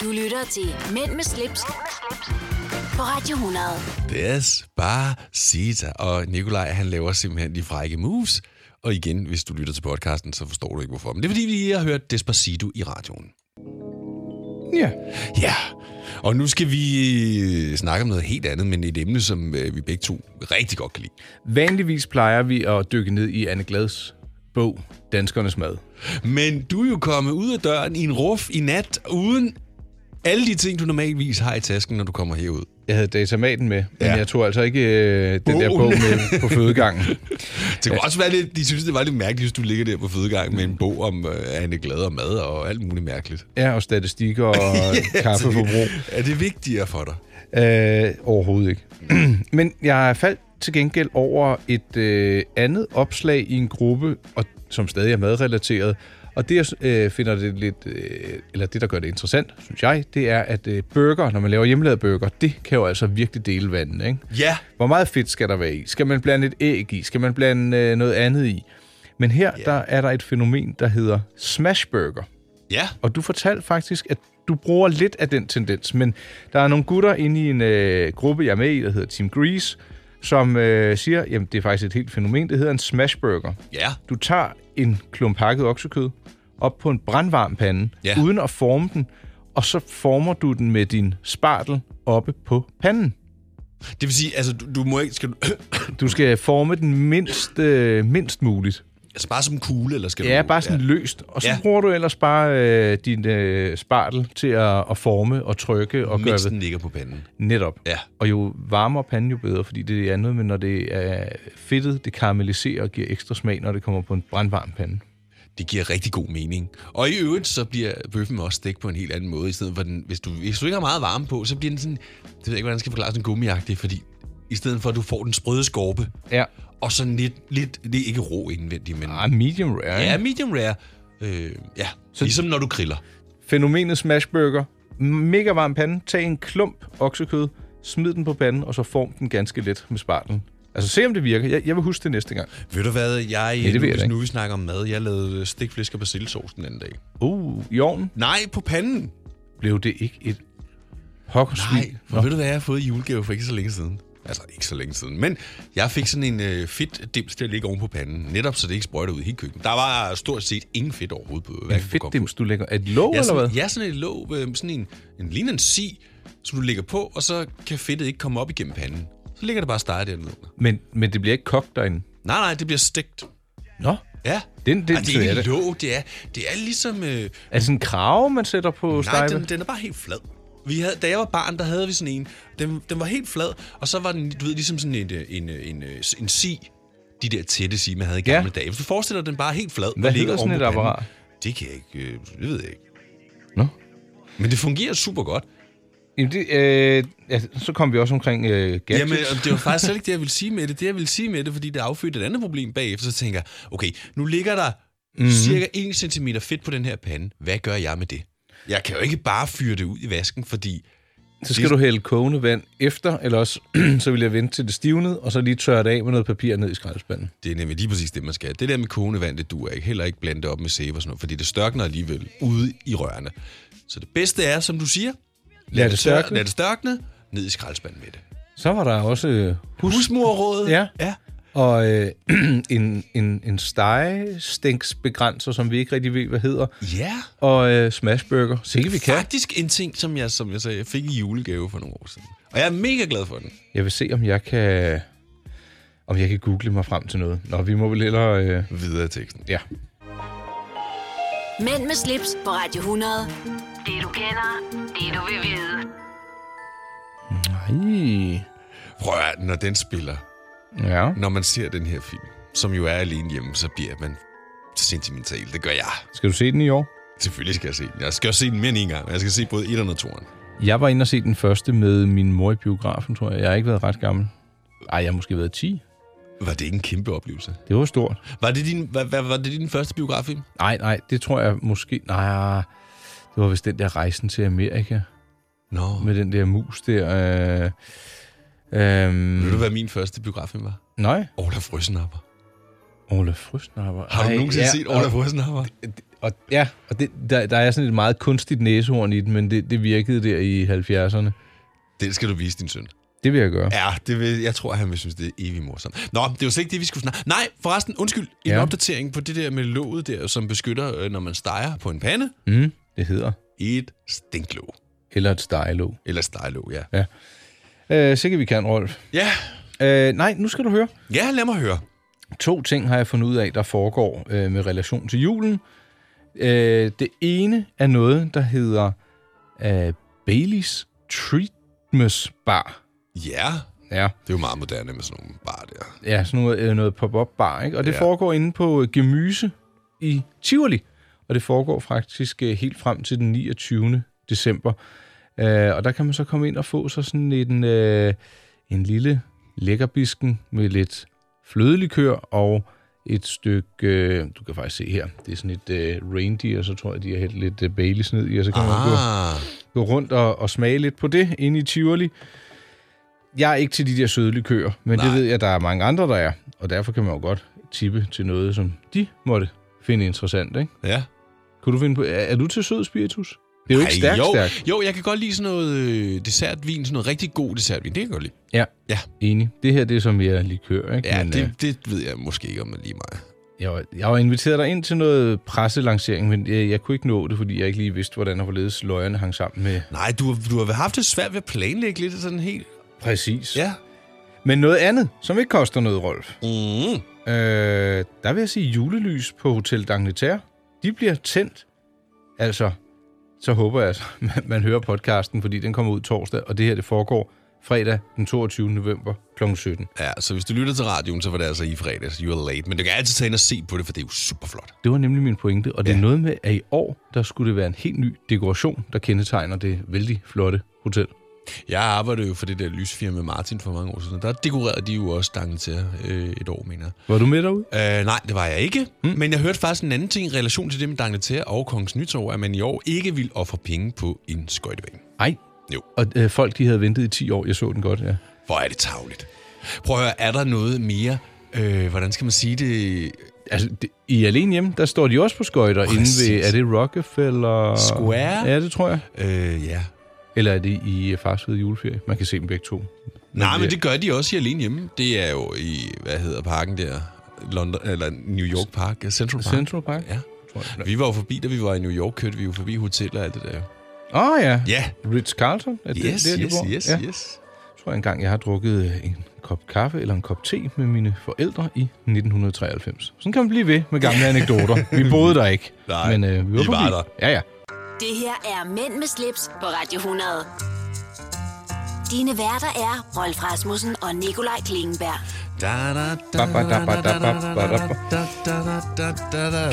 S1: Du lytter til Mænd med slips, på Radio 100.
S2: Despacita. Og Nikolaj, han laver simpelthen de frække moves. Og igen, hvis du lytter til podcasten, så forstår du ikke hvorfor. Men det er fordi, vi lige har hørt Despacito i radioen.
S3: Ja.
S2: Ja, og nu skal vi øh, snakke om noget helt andet, men et emne, som øh, vi begge to rigtig godt kan lide.
S3: Vanligvis plejer vi at dykke ned i Anne Glads bog, Danskernes Mad.
S2: Men du er jo kommet ud af døren i en ruf i nat, uden alle de ting, du normalvis har i tasken, når du kommer herud.
S3: Jeg havde datamaten med, men
S2: Ja.
S3: ja. jeg tog altså ikke øh, den der
S2: Bogen.
S3: bog med på fødegangen.
S2: Det kunne også være lidt, de synes, det var lidt mærkeligt, hvis du ligger der på fødegangen med en bog om øh, Anne Glad og mad og alt muligt mærkeligt.
S3: Ja, og statistikker og kaffeforbrug.
S2: Er det vigtigere for dig?
S3: Øh, overhovedet ikke. men jeg faldt til gengæld over et øh, andet opslag i en gruppe, og, som stadig er madrelateret. Og det, jeg øh, finder det lidt, øh, eller det, der gør det interessant, synes jeg, det er, at øh, burger, når man laver hjemmelavet burger, det kan jo altså virkelig dele vandene, ikke?
S2: Ja.
S3: Hvor meget fedt skal der være i? Skal man blande et æg i? Skal man blande øh, noget andet i? Men her yeah. der er der et fænomen, der hedder smashburger.
S2: Ja.
S3: Og du fortalte faktisk, at du bruger lidt af den tendens, men der er nogle gutter inde i en øh, gruppe, jeg er med i, der hedder Team Grease, som øh, siger, jamen det er faktisk et helt fænomen, det hedder en smashburger.
S2: Ja.
S3: Du tager en klump pakket oksekød op på en brandvarm pande,
S2: Ja.
S3: uden at forme den, og så former du den med din spartel oppe på panden.
S2: Det vil sige, altså, du, du må ikke... Skal du,
S3: Du skal forme den mindst, øh, mindst muligt.
S2: altså, bare som en kugle, eller skal du...
S3: Ja, bare sådan ja. løst. Og så
S2: Uh, Ja.
S3: ja. bruger du ellers bare øh, din øh, spartel til at, at forme og trykke og gøre
S2: Mens
S3: ved.
S2: den ligger på panden.
S3: Netop.
S2: Ja.
S3: Og jo varmere panden, jo bedre, fordi det er andet, men når det er fedtet, det karamelliserer og giver ekstra smag, når det kommer på en brandvarm pande.
S2: Det giver rigtig god mening. Og i øvrigt, så bliver bøffen også stegt på en helt anden måde, i stedet for den, hvis du, hvis du ikke har meget varme på, så bliver den sådan, det ved jeg ikke, hvordan jeg skal forklare sådan gummiagtig, fordi i stedet for, at du får den sprøde skorpe,
S3: ja.
S2: og sådan lidt, lidt, det er ikke rå indvendigt, men...
S3: Ah, medium rare.
S2: Ja, medium rare. Øh, ja, så ligesom når du griller.
S3: Fænomenet smashburger. Mega varm pande. Tag en klump oksekød, smid den på panden, og så form den ganske let med spartlen. Altså se, om det virker. Jeg, jeg vil huske det næste gang.
S2: Ved du hvad, jeg,
S3: Ja, det ved
S2: nu,
S3: jeg
S2: hvis
S3: da ikke.
S2: nu vi snakker om mad, jeg lavede stikflæsk og persillesauce den anden dag.
S3: Uh, i ovnen
S2: Nej, på panden.
S3: blev det ikke et pokkersvin.
S2: Nej, for ved du hvad, jeg har fået i julegave for ikke så længe siden. Altså ikke så længe siden, men jeg fik sådan en øh, fedt dims til at ligge oven på panden, netop så det ikke sprøjter ud i hele køkkenet. Der var stort set ingen fedt overhovedet på.
S3: En
S2: hverken på
S3: fedt
S2: komfuret.
S3: dims, du lægger. Er det låg,
S2: ja,
S3: eller
S2: sådan,
S3: hvad?
S2: Ja, sådan et låg, øh, sådan en, en lignende en si, som du lægger på, og så kan fedtet ikke komme op igennem panden. Så ligger det bare og steger dernede.
S3: Men, men det bliver ikke kogt derinde.
S2: Nej, nej, det bliver stegt.
S3: Nå,
S2: Ja.
S3: den, den
S2: Ej, det
S3: tør
S2: er
S3: jeg
S2: ikke
S3: da.
S2: et låg, det er, det er ligesom... Øh,
S3: Er det sådan en krave, man sætter på
S2: Nej,
S3: stejpe?
S2: den, den er bare helt flad. Vi havde, da jeg var barn, der havde vi sådan en. Den, den var helt flad, og så var den, du ved, ligesom sådan en, øh, en, øh, en, øh, en si. De der tætte si, man havde i gamle ja. dage. Hvis du forestiller dig, den bare er helt flad.
S3: Hvad
S2: og ligger
S3: hedder sådan
S2: oven på
S3: et
S2: panden.
S3: apparat?
S2: Det kan jeg ikke, øh, det ved jeg ikke.
S3: Nå.
S2: Men det fungerer super godt.
S3: Jamen, det, øh, ja, så kom vi også omkring øh, gadgets.
S2: Jamen, og det var faktisk slet ikke det, jeg ville sige med det. Det, jeg ville sige med det, fordi det affødte et andet problem bagefter, så tænker jeg, okay, nu ligger der mm-hmm.
S3: Mhm.
S2: cirka 1 cm fedt på den her pande. Hvad gør jeg med det? Jeg kan jo ikke bare fyre det ud i vasken, fordi
S3: Så skal du hælde kogende vand efter, eller også så vil jeg vente til det stivnede, og så lige tørre det af med noget papir ned i skraldespanden.
S2: Det er nemlig lige præcis det, man skal. Det der med kogende vand, det duer ikke. Heller ikke blande det op med sæbe og sådan noget, fordi det størkner alligevel ude i rørene. Så det bedste er, som du siger,
S3: Lad det
S2: tør-
S3: størkne.
S2: Lad det størkne, ned i skraldespanden med det.
S3: Så var der også øh, hus,
S2: Husmorrådet.
S3: Ja.
S2: ja.
S3: og øh, en, en, en stegestænksbegrænser, som vi ikke rigtig ved, hvad hedder,
S2: Ja.
S3: og øh, smashburger. Sikke vi kan.
S2: Faktisk en ting, som jeg, som jeg sagde, jeg fik i julegave for nogle år siden. Og jeg er mega glad for den.
S3: Jeg vil se, om jeg kan om jeg kan google mig frem til noget. Nå, vi må vel hellere... Øh,
S2: Videre i teksten.
S3: ja.
S1: Mænd med slips på Radio 100. Det du kender, det du vil vide.
S3: Nej.
S2: Prøv at, høre, når den spiller,
S3: Ja.
S2: når man ser den her film, som jo er alene hjemme, så bliver man sentimental. Det gør jeg.
S3: Skal du se den i år?
S2: Selvfølgelig skal jeg se den. Jeg skal også se den mere end en gang. Jeg skal se både 1'eren og 2'eren.
S3: Jeg var inde og se den første med min mor i biografen, tror jeg. Jeg har ikke været ret gammel. Ej, jeg har måske været 10.
S2: Var det ikke en kæmpe oplevelse?
S3: Det var stort.
S2: Var det din, var, var, var det din første biograffilm?
S3: Nej, nej, det tror jeg måske... Nej, det var vist den der rejsen til Amerika
S2: Nå. Men,
S3: med den der mus der. Øh,
S2: Ved du,
S3: øh,
S2: hvad min første biograffilm var?
S3: nej,
S2: Ola Frøsenapper.
S3: Ole Frøsnapper.
S2: Har du
S3: Ej,
S2: nogensinde
S3: ja,
S2: set
S3: og-
S2: Ola Frøsenapper?
S3: Og, ja, og det, der, der er sådan et meget kunstigt næsehorn i den, men det, det virkede der i 70'erne.
S2: Den skal du vise din søn.
S3: Det vil jeg gøre.
S2: Ja, det vil, jeg tror, han vil synes, det er evig morsomt. Nå, det var slet ikke det, vi skulle snakke. Nej, forresten, undskyld. En ja.
S3: Ja.
S2: opdatering på det der med låget der, som beskytter, øh, når man steger på en pande.
S3: Mm, det hedder.
S2: Et stinklåg.
S3: Eller et stejlåg.
S2: Eller steglåg, ja.
S3: Øh, sikkert vi kan, Rolf.
S2: Ja,
S3: Øh, nej, nu skal du høre.
S2: ja lad mig høre.
S3: To ting har jeg fundet ud af, der foregår øh, med relation til julen. Øh, det ene er noget, der hedder øh, Baileys Treatments Bar.
S2: Ja, det
S3: Ja,
S2: er jo meget moderne med sådan nogle bar der.
S3: ja sådan noget, øh, noget pop-up bar, ikke? Og det
S2: Ja.
S3: ja. foregår inde på øh, Gemyse i Tivoli. Og det foregår faktisk øh, helt frem til den 29. december. Øh, og der kan man så komme ind og få sig sådan en, øh, en lille lækkerbisken med lidt flødelikør og et stykke, øh, du kan faktisk se her, det er sådan et øh, reindeer, så tror jeg, de har hældt lidt øh, Baileys ned i, og så kan ah. man gå, gå rundt og, og smage lidt på det inde i Tivoli. Jeg er ikke til de der søde likører, men Nej. det ved jeg, der er mange andre, der er, og derfor kan man jo godt tippe til noget, som de måtte finde interessant, ikke?
S2: Ja.
S3: Kunne du finde på, er, er du til sød spiritus? Det er jo ikke
S2: Ej,
S3: stærkt,
S2: jo,
S3: stærkt.
S2: Jo, jeg kan godt lide sådan noget øh, dessertvin, sådan noget rigtig god dessertvin. Det kan jeg godt lide.
S3: Ja,
S2: ja.
S3: enig. Det her, det er som vi er likør, ikke?
S2: Ja,
S3: Men, øh,
S2: det, det ved jeg måske ikke, om man lige mig.
S3: Jeg var, jeg var inviteret dig ind til noget presselancering, men jeg, jeg kunne ikke nå det, fordi jeg ikke lige vidste, hvordan og hvorledes løgene hang sammen med...
S2: Nej, du, du har haft det svært ved at planlægge lidt sådan helt...
S3: Præcis.
S2: Ja.
S3: Men noget andet, som ikke koster noget, Rolf.
S2: Mm.
S3: Øh, der vil jeg sige, julelys på Hotel D'Angleterre, de bliver tændt. Altså, så håber jeg, altså, man, man hører podcasten, fordi den kommer ud torsdag, og det her, det foregår fredag den 22. november kl. 17.
S2: Ja, så hvis du lytter til radioen, så var det altså i fredags. You are late. Men du kan altid tage ind og se på det, for det er jo super flot.
S3: Det var nemlig min pointe, og det ja. er noget med, at i år, der skulle det være en helt ny dekoration, der kendetegner det vældig flotte hotel.
S2: Jeg arbejdede jo for det der lysfirma Martin for mange år siden. Der dekorerede de jo også stangen til øh, et år, mener jeg.
S3: Var du med derude?
S2: Øh, nej, det var jeg ikke. Mm.
S3: Hmm.
S2: Men jeg hørte faktisk en anden ting i relation til det med D'Angleterre og Kongens Nytorv, at man i år ikke ville ofre penge på en skøjtebane.
S3: Nej.
S2: Jo.
S3: Og øh, folk, de havde ventet i 10 år. Jeg så den godt, ja.
S2: Hvor er det tavligt. Prøv at høre, er der noget mere... Øh, hvordan skal man sige det?
S3: Altså, det, i Alene Hjemme, der står de også på skøjter inde ved... Er
S2: Præcis.
S3: det Rockefeller?
S2: Square?
S3: Ja, det tror jeg.
S2: Øh, ja.
S3: Eller er det i øh, Fars Hvide Juleferie? Man kan se dem begge to. Men
S2: Nej, men
S3: det-
S2: det gør de også i Alene Hjemme. Det er jo i, hvad hedder parken der? London, eller New York Park, Central Park.
S3: Central Park?
S2: Ja.
S3: Tror jeg.
S2: Vi var jo forbi, da vi var i New York, kørte vi jo forbi hoteller og alt det der.
S3: Åh oh, ja.
S2: Ja.
S3: Ritz-Carlton? Er det
S2: Yes,
S3: der, de
S2: yes,
S3: bor?
S2: yes,
S3: ja.
S2: yes.
S3: Jeg tror engang, jeg har drukket øh, en kop kaffe eller en kop te med mine forældre i 1993. Sådan kan man blive ved med gamle anekdoter. Vi boede der ikke.
S2: Nej,
S3: men øh, vi var,
S2: I var
S3: forbi.
S2: der.
S3: Ja, ja.
S1: Det her er Mænd med slips på Radio 100. Dine værter er Rolf Rasmussen og Nikolaj Klingenberg.
S2: Kan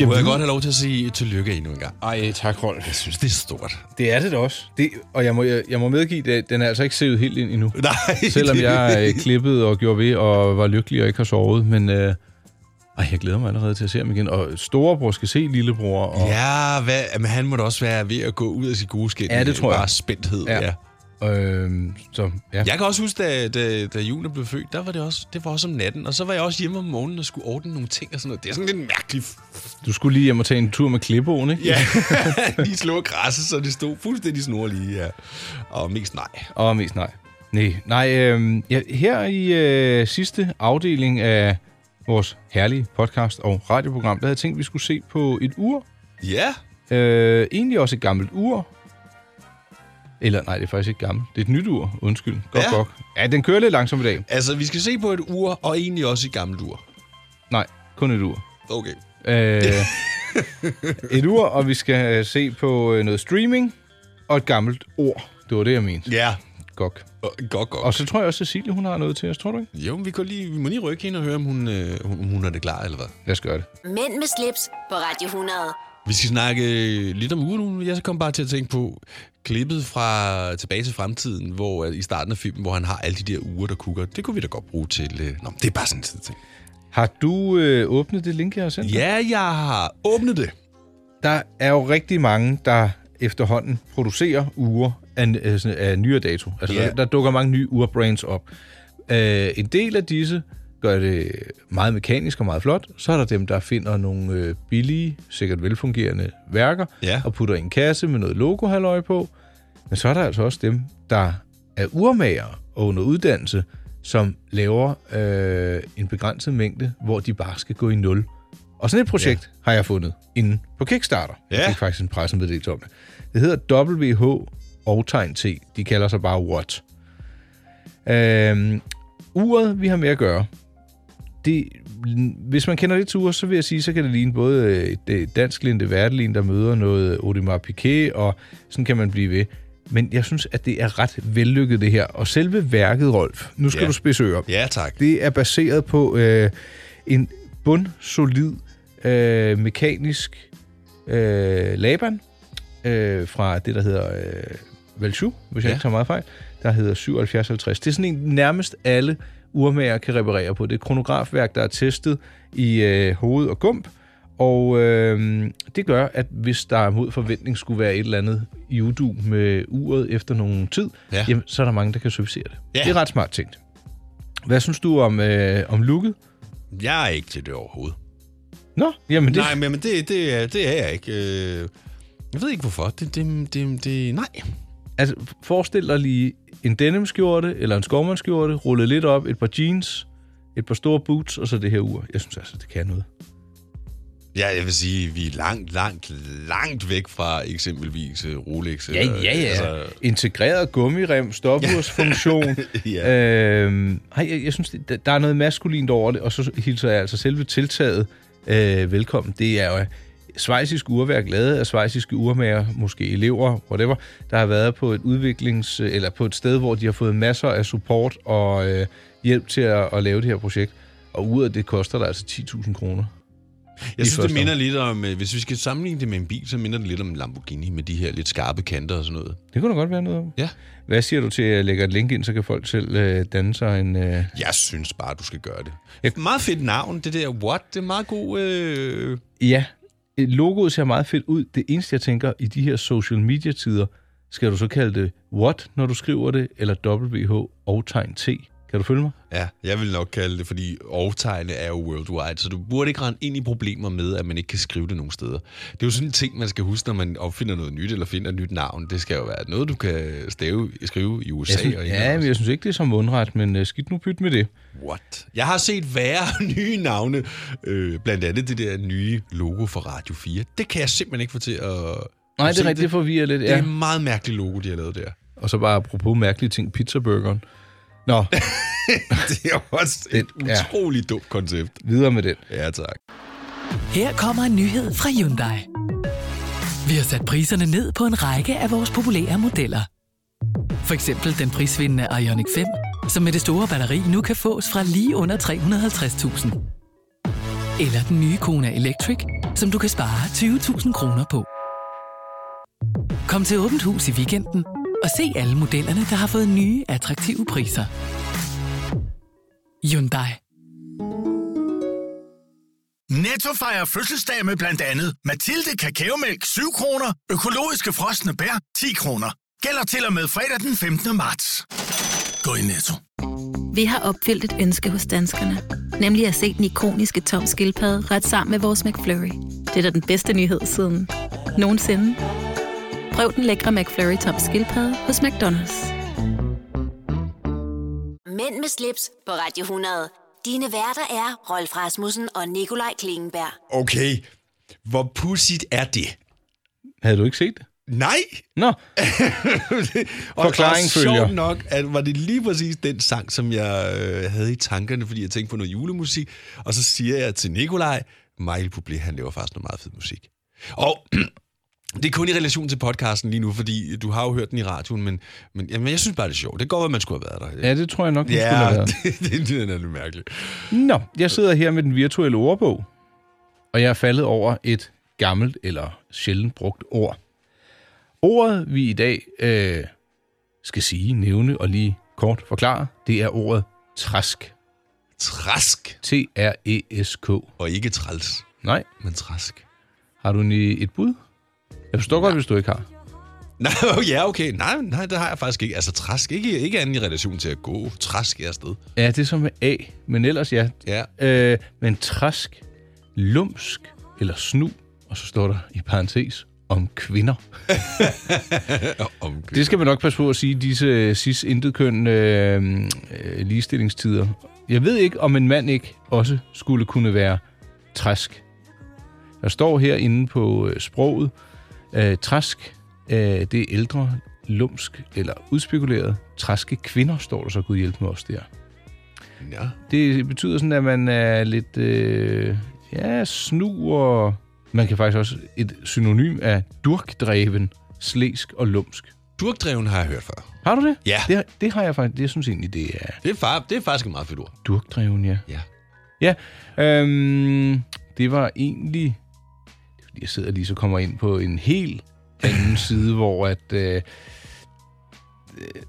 S2: Må jeg godt have lov til at sige tillykke endnu en gang?
S3: Ej, tak, Rolf.
S2: Jeg synes, det er stort.
S3: Det er det da også. Det, og jeg må, jeg, jeg må medgive, at den er altså ikke sivet helt ind endnu.
S2: Nej.
S3: Selvom jeg øh, klippede og gjorde ved og var lykkelig og ikke har sovet. Men øh, ej, jeg glæder mig allerede til at se ham igen. Og storebror skal se lillebror. Og,
S2: Ja, hvad, men han må da også være ved at gå ud af sit gode skin.
S3: Ja, det
S2: med
S3: tror jeg.
S2: Bare spændthed. Ja. ja.
S3: Øh, så, ja.
S2: Jeg kan også huske, da, da, da June blev født, der var det, også, det var også om natten. Og så var jeg også hjemme om morgenen og skulle ordne nogle ting og sådan noget. Det er sådan lidt mærkeligt.
S3: Du skulle lige hjem og tage en tur med klippeåen, ikke?
S2: Ja, lige slå græsset, så det stod fuldstændig snorlige. Ja. Og mest nej.
S3: Og mest nej. Nej, nej øh, ja, her i øh, sidste afdeling af vores herlige podcast og radioprogram, der havde jeg tænkt, at vi skulle se på et ur.
S2: Ja.
S3: Øh, egentlig også et gammelt ur. Eller nej, det er faktisk ikke gammelt. Det er et nyt ur, undskyld. Godt,
S2: Ja.
S3: ja. godt. Ja, den kører lidt langsomt i dag.
S2: Altså, vi skal se på et ur, og egentlig også et gammelt ur.
S3: Nej, kun et ur.
S2: Okay.
S3: Øh, et ur, og vi skal øh, se på øh, noget streaming og et gammelt ord. Det var det, jeg mente.
S2: Ja.
S3: Gok.
S2: Godt, godt.
S3: Og så tror jeg også, at Cecilie, hun har noget til os, tror du ikke?
S2: Jo, men vi, kan lige, vi må lige rykke hende og høre, om hun, øh, om hun er det klar, eller hvad?
S3: Lad os gøre det.
S1: Mænd med slips på Radio 100.
S2: Vi skal snakke øh, lidt om ugen. nu. Jeg kom bare til at tænke på klippet fra Tilbage til Fremtiden, hvor øh, i starten af filmen, hvor han har alle de der uger, der kukker. Det kunne vi da godt bruge til... Øh... Nå, men det er bare sådan en tid ting.
S3: Har du øh, åbnet det link, jeg har sendt? dig?
S2: Ja, jeg har åbnet det.
S3: Der er jo rigtig mange, der efterhånden producerer uger af, øh, sådan af nyere dato. Altså,
S2: Ja.
S3: yeah. der, der dukker mange nye urbrands op. Øh, en del af disse gør det meget mekanisk og meget flot. Så er der dem, der finder nogle øh, billige, sikkert velfungerende værker,
S2: Ja.
S3: og putter i en kasse med noget logo halløj på. Men så er der altså også dem, der er urmager og under uddannelse, som laver øh, en begrænset mængde, hvor de bare skal gå i nul. Og sådan et projekt ja. har jeg fundet inde på Kickstarter. Jeg
S2: Ja.
S3: fik faktisk en pressemeddelelse om det. Det hedder WH og tegn T. De kalder sig bare What. Øhm, uret, vi har med at gøre, det, hvis man kender lidt til uger, så vil jeg sige, så kan det ligne både øh, et dansk linde værtelin, der møder noget øh, Audemars Piquet, og sådan kan man blive ved. Men jeg synes, at det er ret vellykket det her. Og selve værket, Rolf, nu skal
S2: Ja.
S3: ja. du spidse ører.
S2: Ja, tak.
S3: Det er baseret på øh, en bundsolid øh, mekanisk øh, Laban øh, fra det, der hedder øh, Valshu, hvis jeg
S2: Ja.
S3: ikke tager meget fejl, der hedder 7750. Det er sådan en, nærmest alle urmager kan reparere på. Det er et kronografværk, der er testet i øh, hoved og gump, og øh, det gør, at hvis der mod forventning skulle være et eller andet i udu med uret efter nogen tid, ja. jamen, så er der mange, der kan servicere det. Ja. Det er ret smart tænkt. Hvad synes du om, øh, om looket?
S2: Jeg er ikke til det overhovedet.
S3: Nå, jamen det...
S2: Nej, men men det, det, er- det er jeg ikke. Øh, Jeg ved ikke hvorfor. Det, det, det, det, nej.
S3: Altså, forestil dig lige en denimskjorte eller en skovmandskjorte, rullet lidt op, et par jeans, et par store boots, og så det her ur. Jeg synes altså, det kan noget.
S2: Ja, jeg vil sige, vi er langt, langt, langt væk fra eksempelvis øh, Rolex.
S3: Ja, ja, ja. Altså... Integreret gummirem, stopursfunktion.
S2: Ja.
S3: øhm, ej, jeg, jeg synes, det- der- der er noget maskulint over det, og så hilser jeg altså selve tiltaget øh, velkommen. Det er jo svejsisk urværk, lavet af svejsiske urmager, måske elever, whatever, der har været på et udviklings... eller på et sted, hvor de har fået masser af support og øh, hjælp til at, at lave det her projekt. Og uret, det koster dig altså 10.000 kroner.
S2: Jeg
S3: I
S2: synes, det
S3: første
S2: minder lidt om, øh, hvis vi skal sammenligne det med en bil, så minder det lidt om en Lamborghini med de her lidt skarpe kanter og sådan noget.
S3: Det kunne da godt være noget om.
S2: Ja.
S3: Hvad siger du til at lægge et link ind, så kan folk selv øh, danne sig en... Øh...
S2: Jeg synes bare, du skal gøre det. Jeg... Meget fedt navn, det der what, det er meget god... Øh...
S3: Ja, øh, logoet ser meget fedt ud. Det eneste, jeg tænker, i de her social media-tider, skal du så kalde det what, når du skriver det, eller WH og tegn T? Kan du følge mig?
S2: Ja, jeg vil nok kalde det, fordi overtegne er jo worldwide, så du burde ikke rende ind i problemer med, at man ikke kan skrive det nogen steder. Det er jo sådan en ting, man skal huske, når man opfinder noget nyt eller finder et nyt navn. Det skal jo være noget, du kan stave, skrive i USA.
S3: Jeg synes,
S2: og
S3: ja, men jeg synes ikke, altså. det er som mundret, men øh, skidt nu pyt med det.
S2: What? Jeg har set værre nye navne, øh, blandt andet det der nye logo for Radio 4. Det kan jeg simpelthen ikke få til at...
S3: Nej,
S2: at
S3: det
S2: se
S3: er rigtigt, det forvirrer lidt.
S2: Det er
S3: Ja.
S2: et meget mærkeligt logo, de har lavet der.
S3: Og så bare apropos mærkelige ting, pizzaburgeren. Nå,
S2: det er også et utroligt dumt koncept.
S3: Videre med den.
S2: Ja, tak.
S5: Her kommer en nyhed fra Hyundai. Vi har sat priserne ned på en række af vores populære modeller. For eksempel den prisvindende Ioniq 5, som med det store batteri nu kan fås fra lige under 350.000. Eller den nye Kona Electric, som du kan spare 20.000 kroner på. Kom til Åbent Hus i weekenden og se alle modellerne, der har fået nye, attraktive priser. Hyundai.
S13: Netto fejrer fødselsdag med blandt andet Mathilde Kakaomælk 7 kroner, økologiske frosne bær 10 kroner. Gælder til og med fredag den 15. marts. Gå i Netto.
S14: Vi har opfyldt et ønske hos danskerne. Nemlig at se den ikoniske tom skildpadde ret sammen med vores McFlurry. Det er da den bedste nyhed siden nogensinde. Prøv den lækre McFlurry tom skildpadde hos McDonald's.
S1: Mænd med slips på Radio 100. Dine værter er Rolf Rasmussen og Nikolaj Klingenberg.
S2: Okay, hvor pudsigt er det?
S3: havde du ikke set det?
S2: Nej!
S3: Nå.
S2: Og,
S3: Forklaring
S2: og
S3: følger.
S2: sjovt nok, at var det lige præcis den sang, som jeg øh, havde i tankerne, fordi jeg tænkte på noget julemusik, og så siger jeg til Nikolaj, Michael Bublé, han laver faktisk noget meget fed musik. Og det er kun i relation til podcasten lige nu, fordi du har jo hørt den i radioen, men, men jamen, jeg synes bare, det er sjovt. Det går, at man skulle have været der.
S3: Ja, det tror jeg nok, den skulle have
S2: Ja,
S3: været.
S2: det, det, det er lidt mærkeligt.
S3: Nå, jeg sidder her med den virtuelle ordbog, og jeg er faldet over et gammelt eller sjældent brugt ord. Ordet, vi i dag øh, skal sige, nævne og lige kort forklare, det er ordet træsk.
S2: Træsk?
S3: T-R-E-S-K.
S2: Og ikke træls.
S3: E Nej.
S2: Men træsk.
S3: Har du en, øh, et bud? Jeg forstår godt, hvis du ikke har.
S2: Nej, ja, okay. Nej, nej, det har jeg faktisk ikke. Altså, træsk. Ikke, ikke andet i relation til at gå. Træsk er afsted.
S3: Ja, det er som med A, men ellers ja.
S2: ja.
S3: Øh, men træsk, lumsk eller snu, og så står der i parentes om kvinder.
S2: om kvinder.
S3: Det skal man nok passe på at sige i disse cis intetkøn øh, øh, ligestillingstider. Jeg ved ikke, om en mand ikke også skulle kunne være træsk. Der står herinde på øh, sproget, øh, træsk, øh, det er ældre, lumsk eller udspekuleret. Træske kvinder står der så, Gud hjælpe mig også der.
S2: Ja.
S3: Det betyder sådan, at man er lidt øh, ja, snu og... Man kan faktisk også et synonym af durkdreven, slæsk og lumsk.
S2: Durkdreven har jeg hørt før.
S3: Har du det?
S2: Ja.
S3: Det, det har jeg faktisk. Det jeg synes egentlig, det er
S2: Det er, far, det er faktisk et meget fedt ord.
S3: durkdreven, ja.
S2: Ja.
S3: Ja, øhm, det var egentlig... Det er fordi, jeg sidder lige så kommer ind på en helt anden side, hvor at... Øh,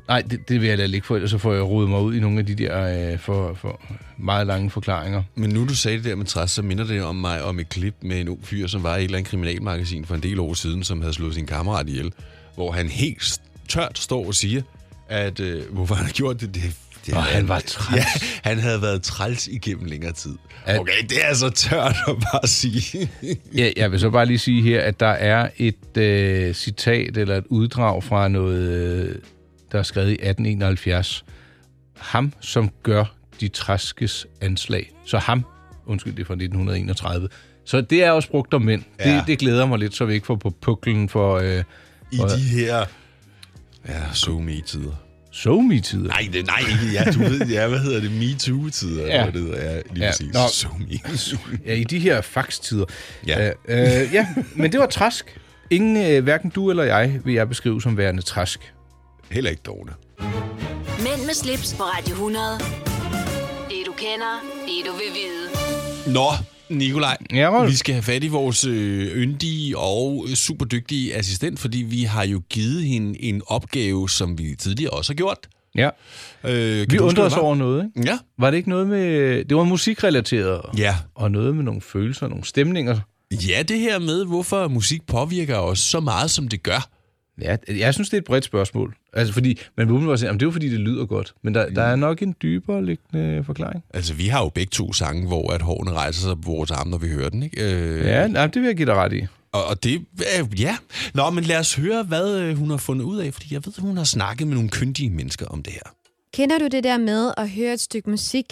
S3: nej, det, det vil jeg da ikke for, ellers så får jeg rodet mig ud i nogle af de der øh, for, for meget lange forklaringer.
S2: Men nu du sagde det der med træs, så minder det om mig om et klip med en ung fyr, som var i et eller andet kriminalmagasin for en del år siden, som havde slået sin kammerat ihjel, hvor han helt tørt står og siger, at øh, hvorfor han har gjort det, det det
S3: Og han var træls.
S2: Ja, han havde været træls igennem længere tid. Okay, det er så tørt at bare sige.
S3: ja, jeg vil så bare lige sige her, at der er et øh, citat eller et uddrag fra noget, øh, der er skrevet i 1871. Ham, som gør de træskes anslag. Så ham, undskyld, det er fra 1931. Så det er også brugt om mænd. Ja.
S2: Ja.
S3: Det, det glæder mig lidt, så vi ikke får på puklen for... Øh,
S2: I
S3: for
S2: de her... Ja, so me tider
S3: so me tider
S2: Nej, det, nej, ikke- ja, du ved, ja, hvad hedder det? Me Too-tider,
S3: Ja.
S2: ja. det hedder, ja, lige ja. præcis.
S3: Nå.
S2: So me.
S3: ja, i de her faxtider.
S2: Ja.
S3: Øh, øh, ja, men det var træsk. Ingen, øh, hverken du eller jeg, vil jeg beskrive som værende træsk.
S2: Heller ikke Dorne.
S1: Mænd med slips på Radio 100. Det du kender, det du vil vide.
S2: Nå, Nikolaj,
S3: ja,
S2: vi skal have fat i vores øh, yndige og øh, super dygtige assistent, fordi vi har jo givet hende en opgave, som vi tidligere også har gjort.
S3: Ja.
S2: Øh,
S3: Vi undrede os over noget, ikke?
S2: Ja.
S3: Var det ikke noget med... Det var musikrelateret.
S2: Ja.
S3: Og noget med nogle følelser, nogle stemninger.
S2: Ja, det her med, hvorfor musik påvirker os så meget, som det gør.
S3: Ja, jeg synes, det er et bredt spørgsmål. Altså, fordi man vil umiddelbart sige, "Jamen, det er jo fordi, det lyder godt. Men der, der er nok en dybere liggende forklaring.
S2: Altså, vi har jo begge to sange, hvor at hårene rejser sig på vores arme, når vi hører den, ikke? Øh,
S3: Ja, nej, det vil jeg give dig ret i.
S2: Og, og det, øh, ja. Nå, men lad os høre, hvad øh, hun har fundet ud af, fordi jeg ved, hun har snakket med nogle kyndige mennesker om det her.
S15: Kender du det der med at høre et stykke musik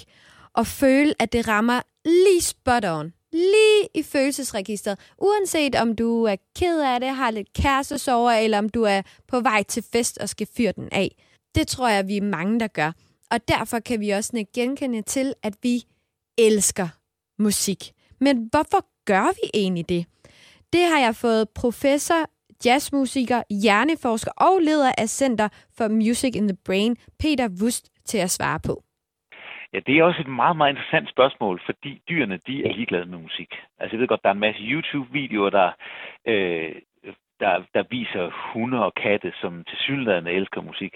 S15: og føle, at det rammer lige spot on? Lige i følelsesregisteret. Uanset om du er ked af det, har lidt kærestesover, eller om du er på vej til fest og skal fyre den af. Det tror jeg, vi er mange, der gør. Og derfor kan vi også nikke genkende til, at vi elsker musik. Men hvorfor gør vi egentlig det? Det har jeg fået professor, jazzmusiker, hjerneforsker og leder af Center for Music in the Brain, Peter Wust, til at svare på.
S16: Ja, det er også et meget, meget interessant spørgsmål, fordi dyrene, de er ligeglade med musik. Altså, jeg ved godt, der er en masse YouTube-videoer, der, øh, der, der viser hunde og katte, som til synligheden elsker musik.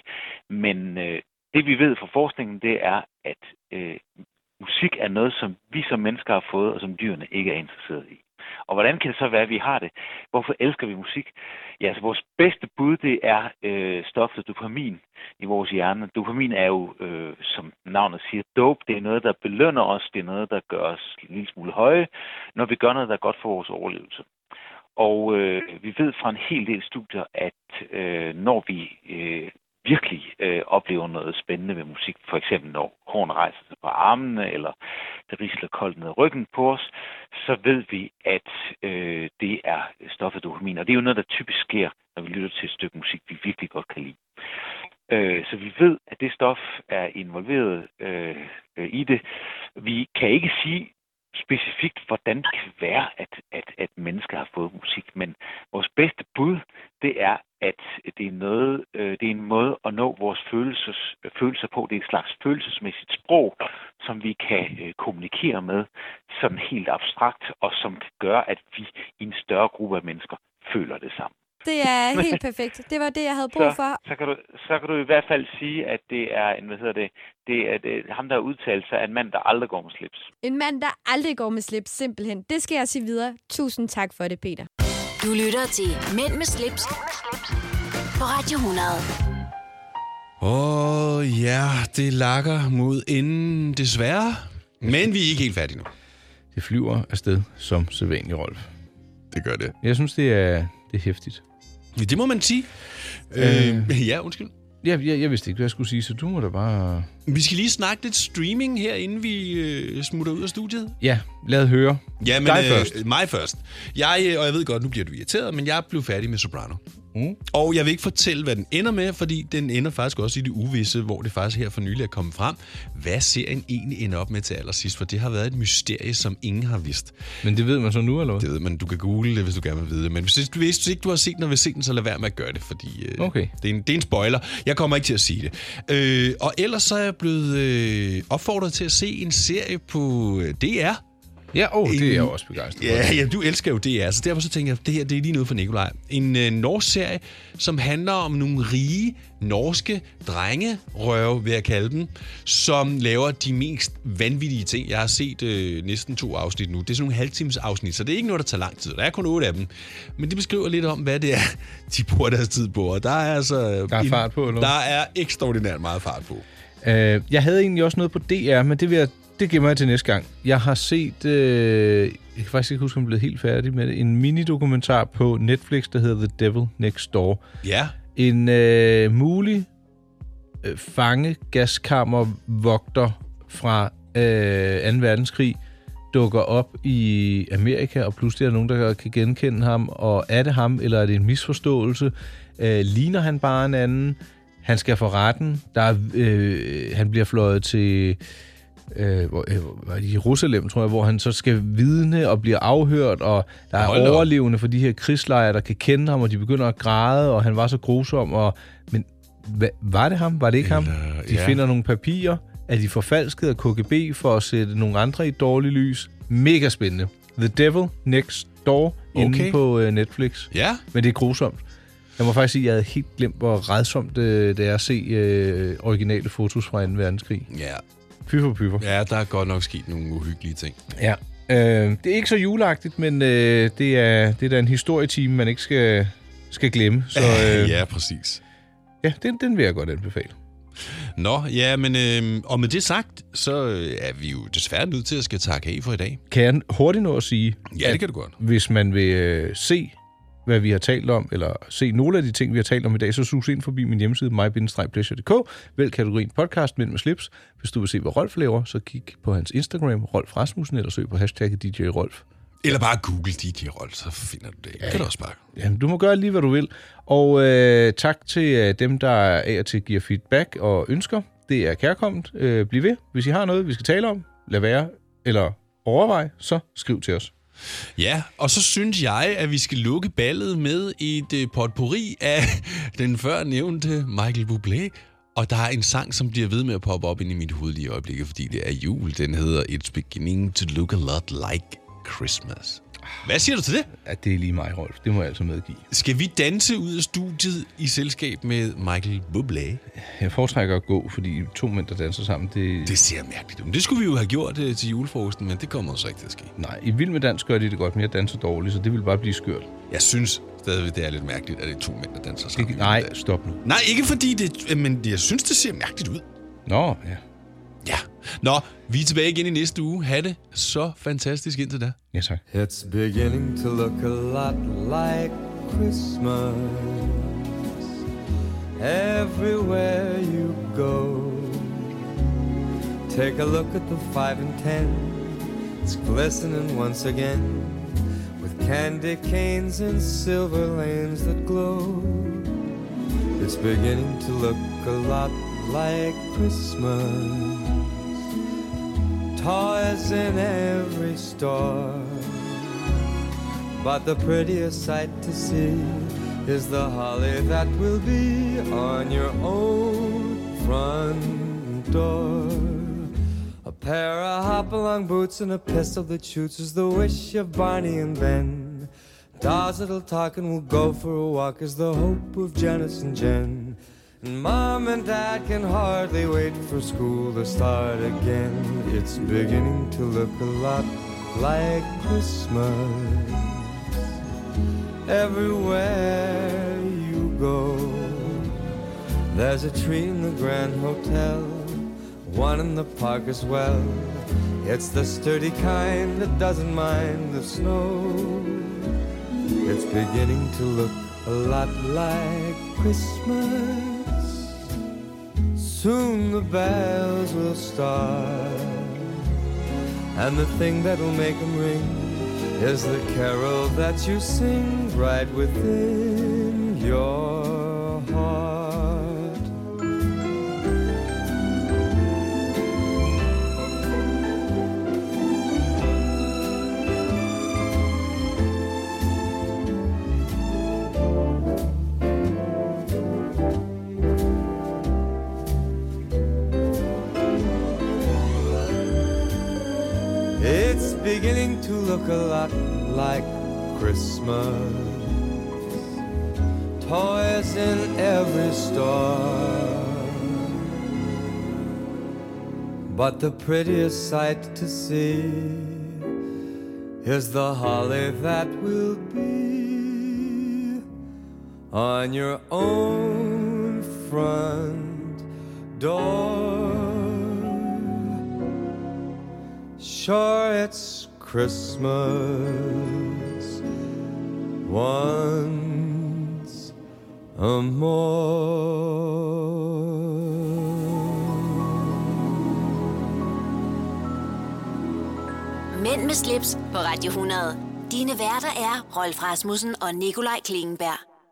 S16: Men øh, det, vi ved fra forskningen, det er, at øh, musik er noget, som vi som mennesker har fået, og som dyrene ikke er interesseret i. Og hvordan kan det så være, at vi har det? Hvorfor elsker vi musik? Ja, så vores bedste bud, det er øh, stoffet dopamin i vores hjerne. Dopamin er jo, øh, som navnet siger, dope. Det er noget, der belønner os. Det er noget, der gør os en lille smule høje, når vi gør noget, der er godt for vores overlevelse. Og øh, vi ved fra en hel del studier, at øh, når vi øh, virkelig øh, oplever noget spændende med musik, for eksempel når hårene rejser sig på armene, eller det risler koldt ned ad ryggen på os, så ved vi, at øh, det er stoffet dopamin. Og det er jo noget, der typisk sker, når vi lytter til et stykke musik, vi virkelig godt kan lide. Øh, så vi ved, at det stof er involveret øh, øh, i det. Vi kan ikke sige specifikt, hvordan det kan være, at, at, at mennesker har fået musik, men vores bedste bud, det er, at det er, noget, øh, det er en måde at nå vores følelses, øh, følelser på. Det er et slags følelsesmæssigt sprog, som vi kan øh, kommunikere med sådan helt abstrakt, og som kan gøre, at vi i en større gruppe af mennesker føler det samme.
S15: Det er helt perfekt. Det var det, jeg havde brug for.
S16: Så, så, kan du, så kan du i hvert fald sige, at det er en, hvad hedder det, det er det, ham, der har udtalt sig, er en mand, der aldrig går med slips.
S15: En mand, der aldrig går med slips, simpelthen. Det skal jeg sige videre. Tusind tak for det, Peter.
S1: Du lytter til Mænd med slips, på Radio 100.
S2: Åh, oh, ja, det lakker mod enden, desværre. Men vi er ikke helt færdige nu.
S3: Det flyver afsted som sædvanlig, Rolf.
S2: Det gør det.
S3: Jeg synes, det er, det er hæftigt.
S2: Ja, det må man sige.
S3: Øh.
S2: Øh, ja, undskyld.
S3: Ja, jeg, jeg vidste ikke, hvad jeg skulle sige, så du må da bare...
S2: Vi skal lige snakke lidt streaming her, inden vi øh, smutter ud af studiet.
S3: Ja, lad høre.
S2: Ja, men,
S3: Dig først.
S2: Øh, mig først. Jeg, øh, og jeg ved godt, nu bliver du irriteret, men jeg blev færdig med Soprano.
S3: Mm.
S2: Og jeg vil ikke fortælle, hvad den ender med, fordi den ender faktisk også i det uvisse, hvor det faktisk her for nylig er kommet frem. Hvad serien egentlig ender op med til allersidst? For det har været et mysterie, som ingen har vidst.
S3: Men det ved man så nu, eller hvad?
S2: Det ved man. Du kan google det, hvis du gerne vil vide det. Men hvis, hvis, hvis ikke du har set den, og vil se den, så lad være med at gøre det, fordi øh,
S3: Okay.
S2: det, er en, det er en spoiler. Jeg kommer ikke til at sige det. Øh, og ellers så er jeg blevet øh, opfordret til at se en serie på øh, DR,
S3: Ja, åh, oh, det er jeg jo også begejstret for.
S2: Ja, ja, du elsker jo DR, så derfor så tænker jeg, det her det er lige noget for Nikolaj. En øh, norsk serie, som handler om nogle rige norske drengerøve, vil jeg kalde dem, som laver de mest vanvittige ting. Jeg har set øh, næsten to afsnit nu. Det er sådan nogle halvtimes afsnit, så det er ikke noget, der tager lang tid. Der er kun otte af dem. Men det beskriver lidt om, hvad det er, de bruger deres tid på. Og der er altså...
S3: Der er fart på, eller hvad?
S2: Der er ekstraordinært meget fart på.
S3: Øh, jeg havde egentlig også noget på DR, men det vil jeg det gemmer jeg til næste gang. Jeg har set, øh, jeg kan faktisk ikke huske, om jeg blev helt færdig med det, en minidokumentar på Netflix, der hedder The Devil Next Door.
S2: Ja.
S3: En øh, mulig øh, fange gaskammervogter fra øh, 2. verdenskrig dukker op i Amerika, og pludselig er der nogen, der kan genkende ham, og er det ham, eller er det en misforståelse? Øh, ligner han bare en anden? Han skal for retten. Der er, øh, han bliver fløjet til øh, hvor- øh, hvor- i Jerusalem, tror jeg, hvor han så skal vidne og bliver afhørt, og der er
S2: Hold da op.
S3: overlevende for de her krigslejre, der kan kende ham, og de begynder at græde, og han var så grusom. Og, men hva, var det ham? Var det ikke ham? De
S2: ja.
S3: finder nogle papirer, er de forfalsket af KGB for at sætte nogle andre i et dårligt lys. Mega spændende. The Devil Next Door okay.
S2: Okay.
S3: inde på øh, Netflix.
S2: Ja.
S3: Men det er grusomt. Jeg må faktisk sige, at jeg havde helt glemt, hvor redsomt øh, det er at se øh, originale fotos fra 2. verdenskrig.
S2: Ja.
S3: Fy for pyver.
S2: Ja, der er godt nok sket nogle uhyggelige ting.
S3: Ja. Øh, det er ikke så juleagtigt, men øh, det, er, det er da en historietime, man ikke skal, skal glemme. Så, øh,
S2: ja, præcis.
S3: Ja, den, den vil jeg godt anbefale.
S2: Nå, ja, men øh, og med det sagt, så øh, er vi jo desværre nødt til at skal takke af for i dag.
S3: Kan jeg hurtigt nå at sige,
S2: Ja, det kan du godt.
S3: hvis man vil øh, se, hvad vi har talt om, eller se nogle af de ting, vi har talt om i dag, så sus ind forbi min hjemmeside, my vælg kategorien podcast Mænd med slips. Hvis du vil se, hvad Rolf laver, så kig på hans Instagram, Rolf Rasmussen, eller søg på hashtagget DJ Rolf.
S2: Eller bare google DJ Roll, så finder du det. Ja. Kan du også bare.
S3: Jamen, du må gøre lige, hvad du vil. Og øh, tak til øh, dem, der af og til giver feedback og ønsker. Det er kærkommet. Øh, bliv ved. Hvis I har noget, vi skal tale om, lad være eller overvej, så skriv til os.
S2: Ja, og så synes jeg, at vi skal lukke ballet med et øh, potpourri af den før nævnte Michael Bublé. Og der er en sang, som bliver ved med at poppe op ind i mit hoved lige i øjeblikket, fordi det er jul. Den hedder It's Beginning to Look a Lot Like Christmas. Hvad siger du til det?
S3: Ja, det er lige mig, Rolf. Det må jeg altså medgive.
S2: Skal vi danse ud af studiet i selskab med Michael Bublé?
S3: Jeg foretrækker at gå, fordi to mænd, der danser sammen, det...
S2: Det ser mærkeligt ud. Men Det skulle vi jo have gjort øh, til julefrokosten, men det kommer så ikke til at ske.
S3: Nej, i Vild med Dans gør de det godt, men jeg danser dårligt, så det vil bare blive skørt.
S2: Jeg synes stadigvæk, det er lidt mærkeligt, at det er to mænd, der danser sammen.
S3: Det, nej, stop nu.
S2: Nej, ikke fordi det... øh, Men jeg synes, det ser mærkeligt ud.
S3: Nå, ja.
S2: Ja. Nå, vi er tilbage igen i næste uge. Ha' det så fantastisk indtil da.
S3: Ja, tak.
S17: It's beginning to look a lot like Christmas everywhere you go. Take a look at the five and ten, it's glistening once again with candy canes and silver lanes that glow. It's beginning to look a lot like Christmas toys in every store. But the prettiest sight to see is the holly that will be on your own front door. A pair of hop-along boots and a pistol that shoots is the wish of Barney and Ben. Dolls that'll talk and will go for a walk is the hope of Janice and Jen. And Mom and Dad can hardly wait for school to start again. It's beginning to look a lot like Christmas everywhere you go. There's a tree in the Grand Hotel, one in the park as well. It's the sturdy kind that doesn't mind the snow. It's beginning to look a lot like Christmas. Soon the bells will start. And the thing that'll make 'em ring is the carol that you sing right within your heart. It's beginning look a lot like Christmas. Toys in every store. But the prettiest sight to see is the holly that will be on your own front door. Sure, it's Christmas once a more.
S1: Mænd med slips på Radio 100. Dine værter er Rolf Rasmussen og Nikolaj Klingenberg.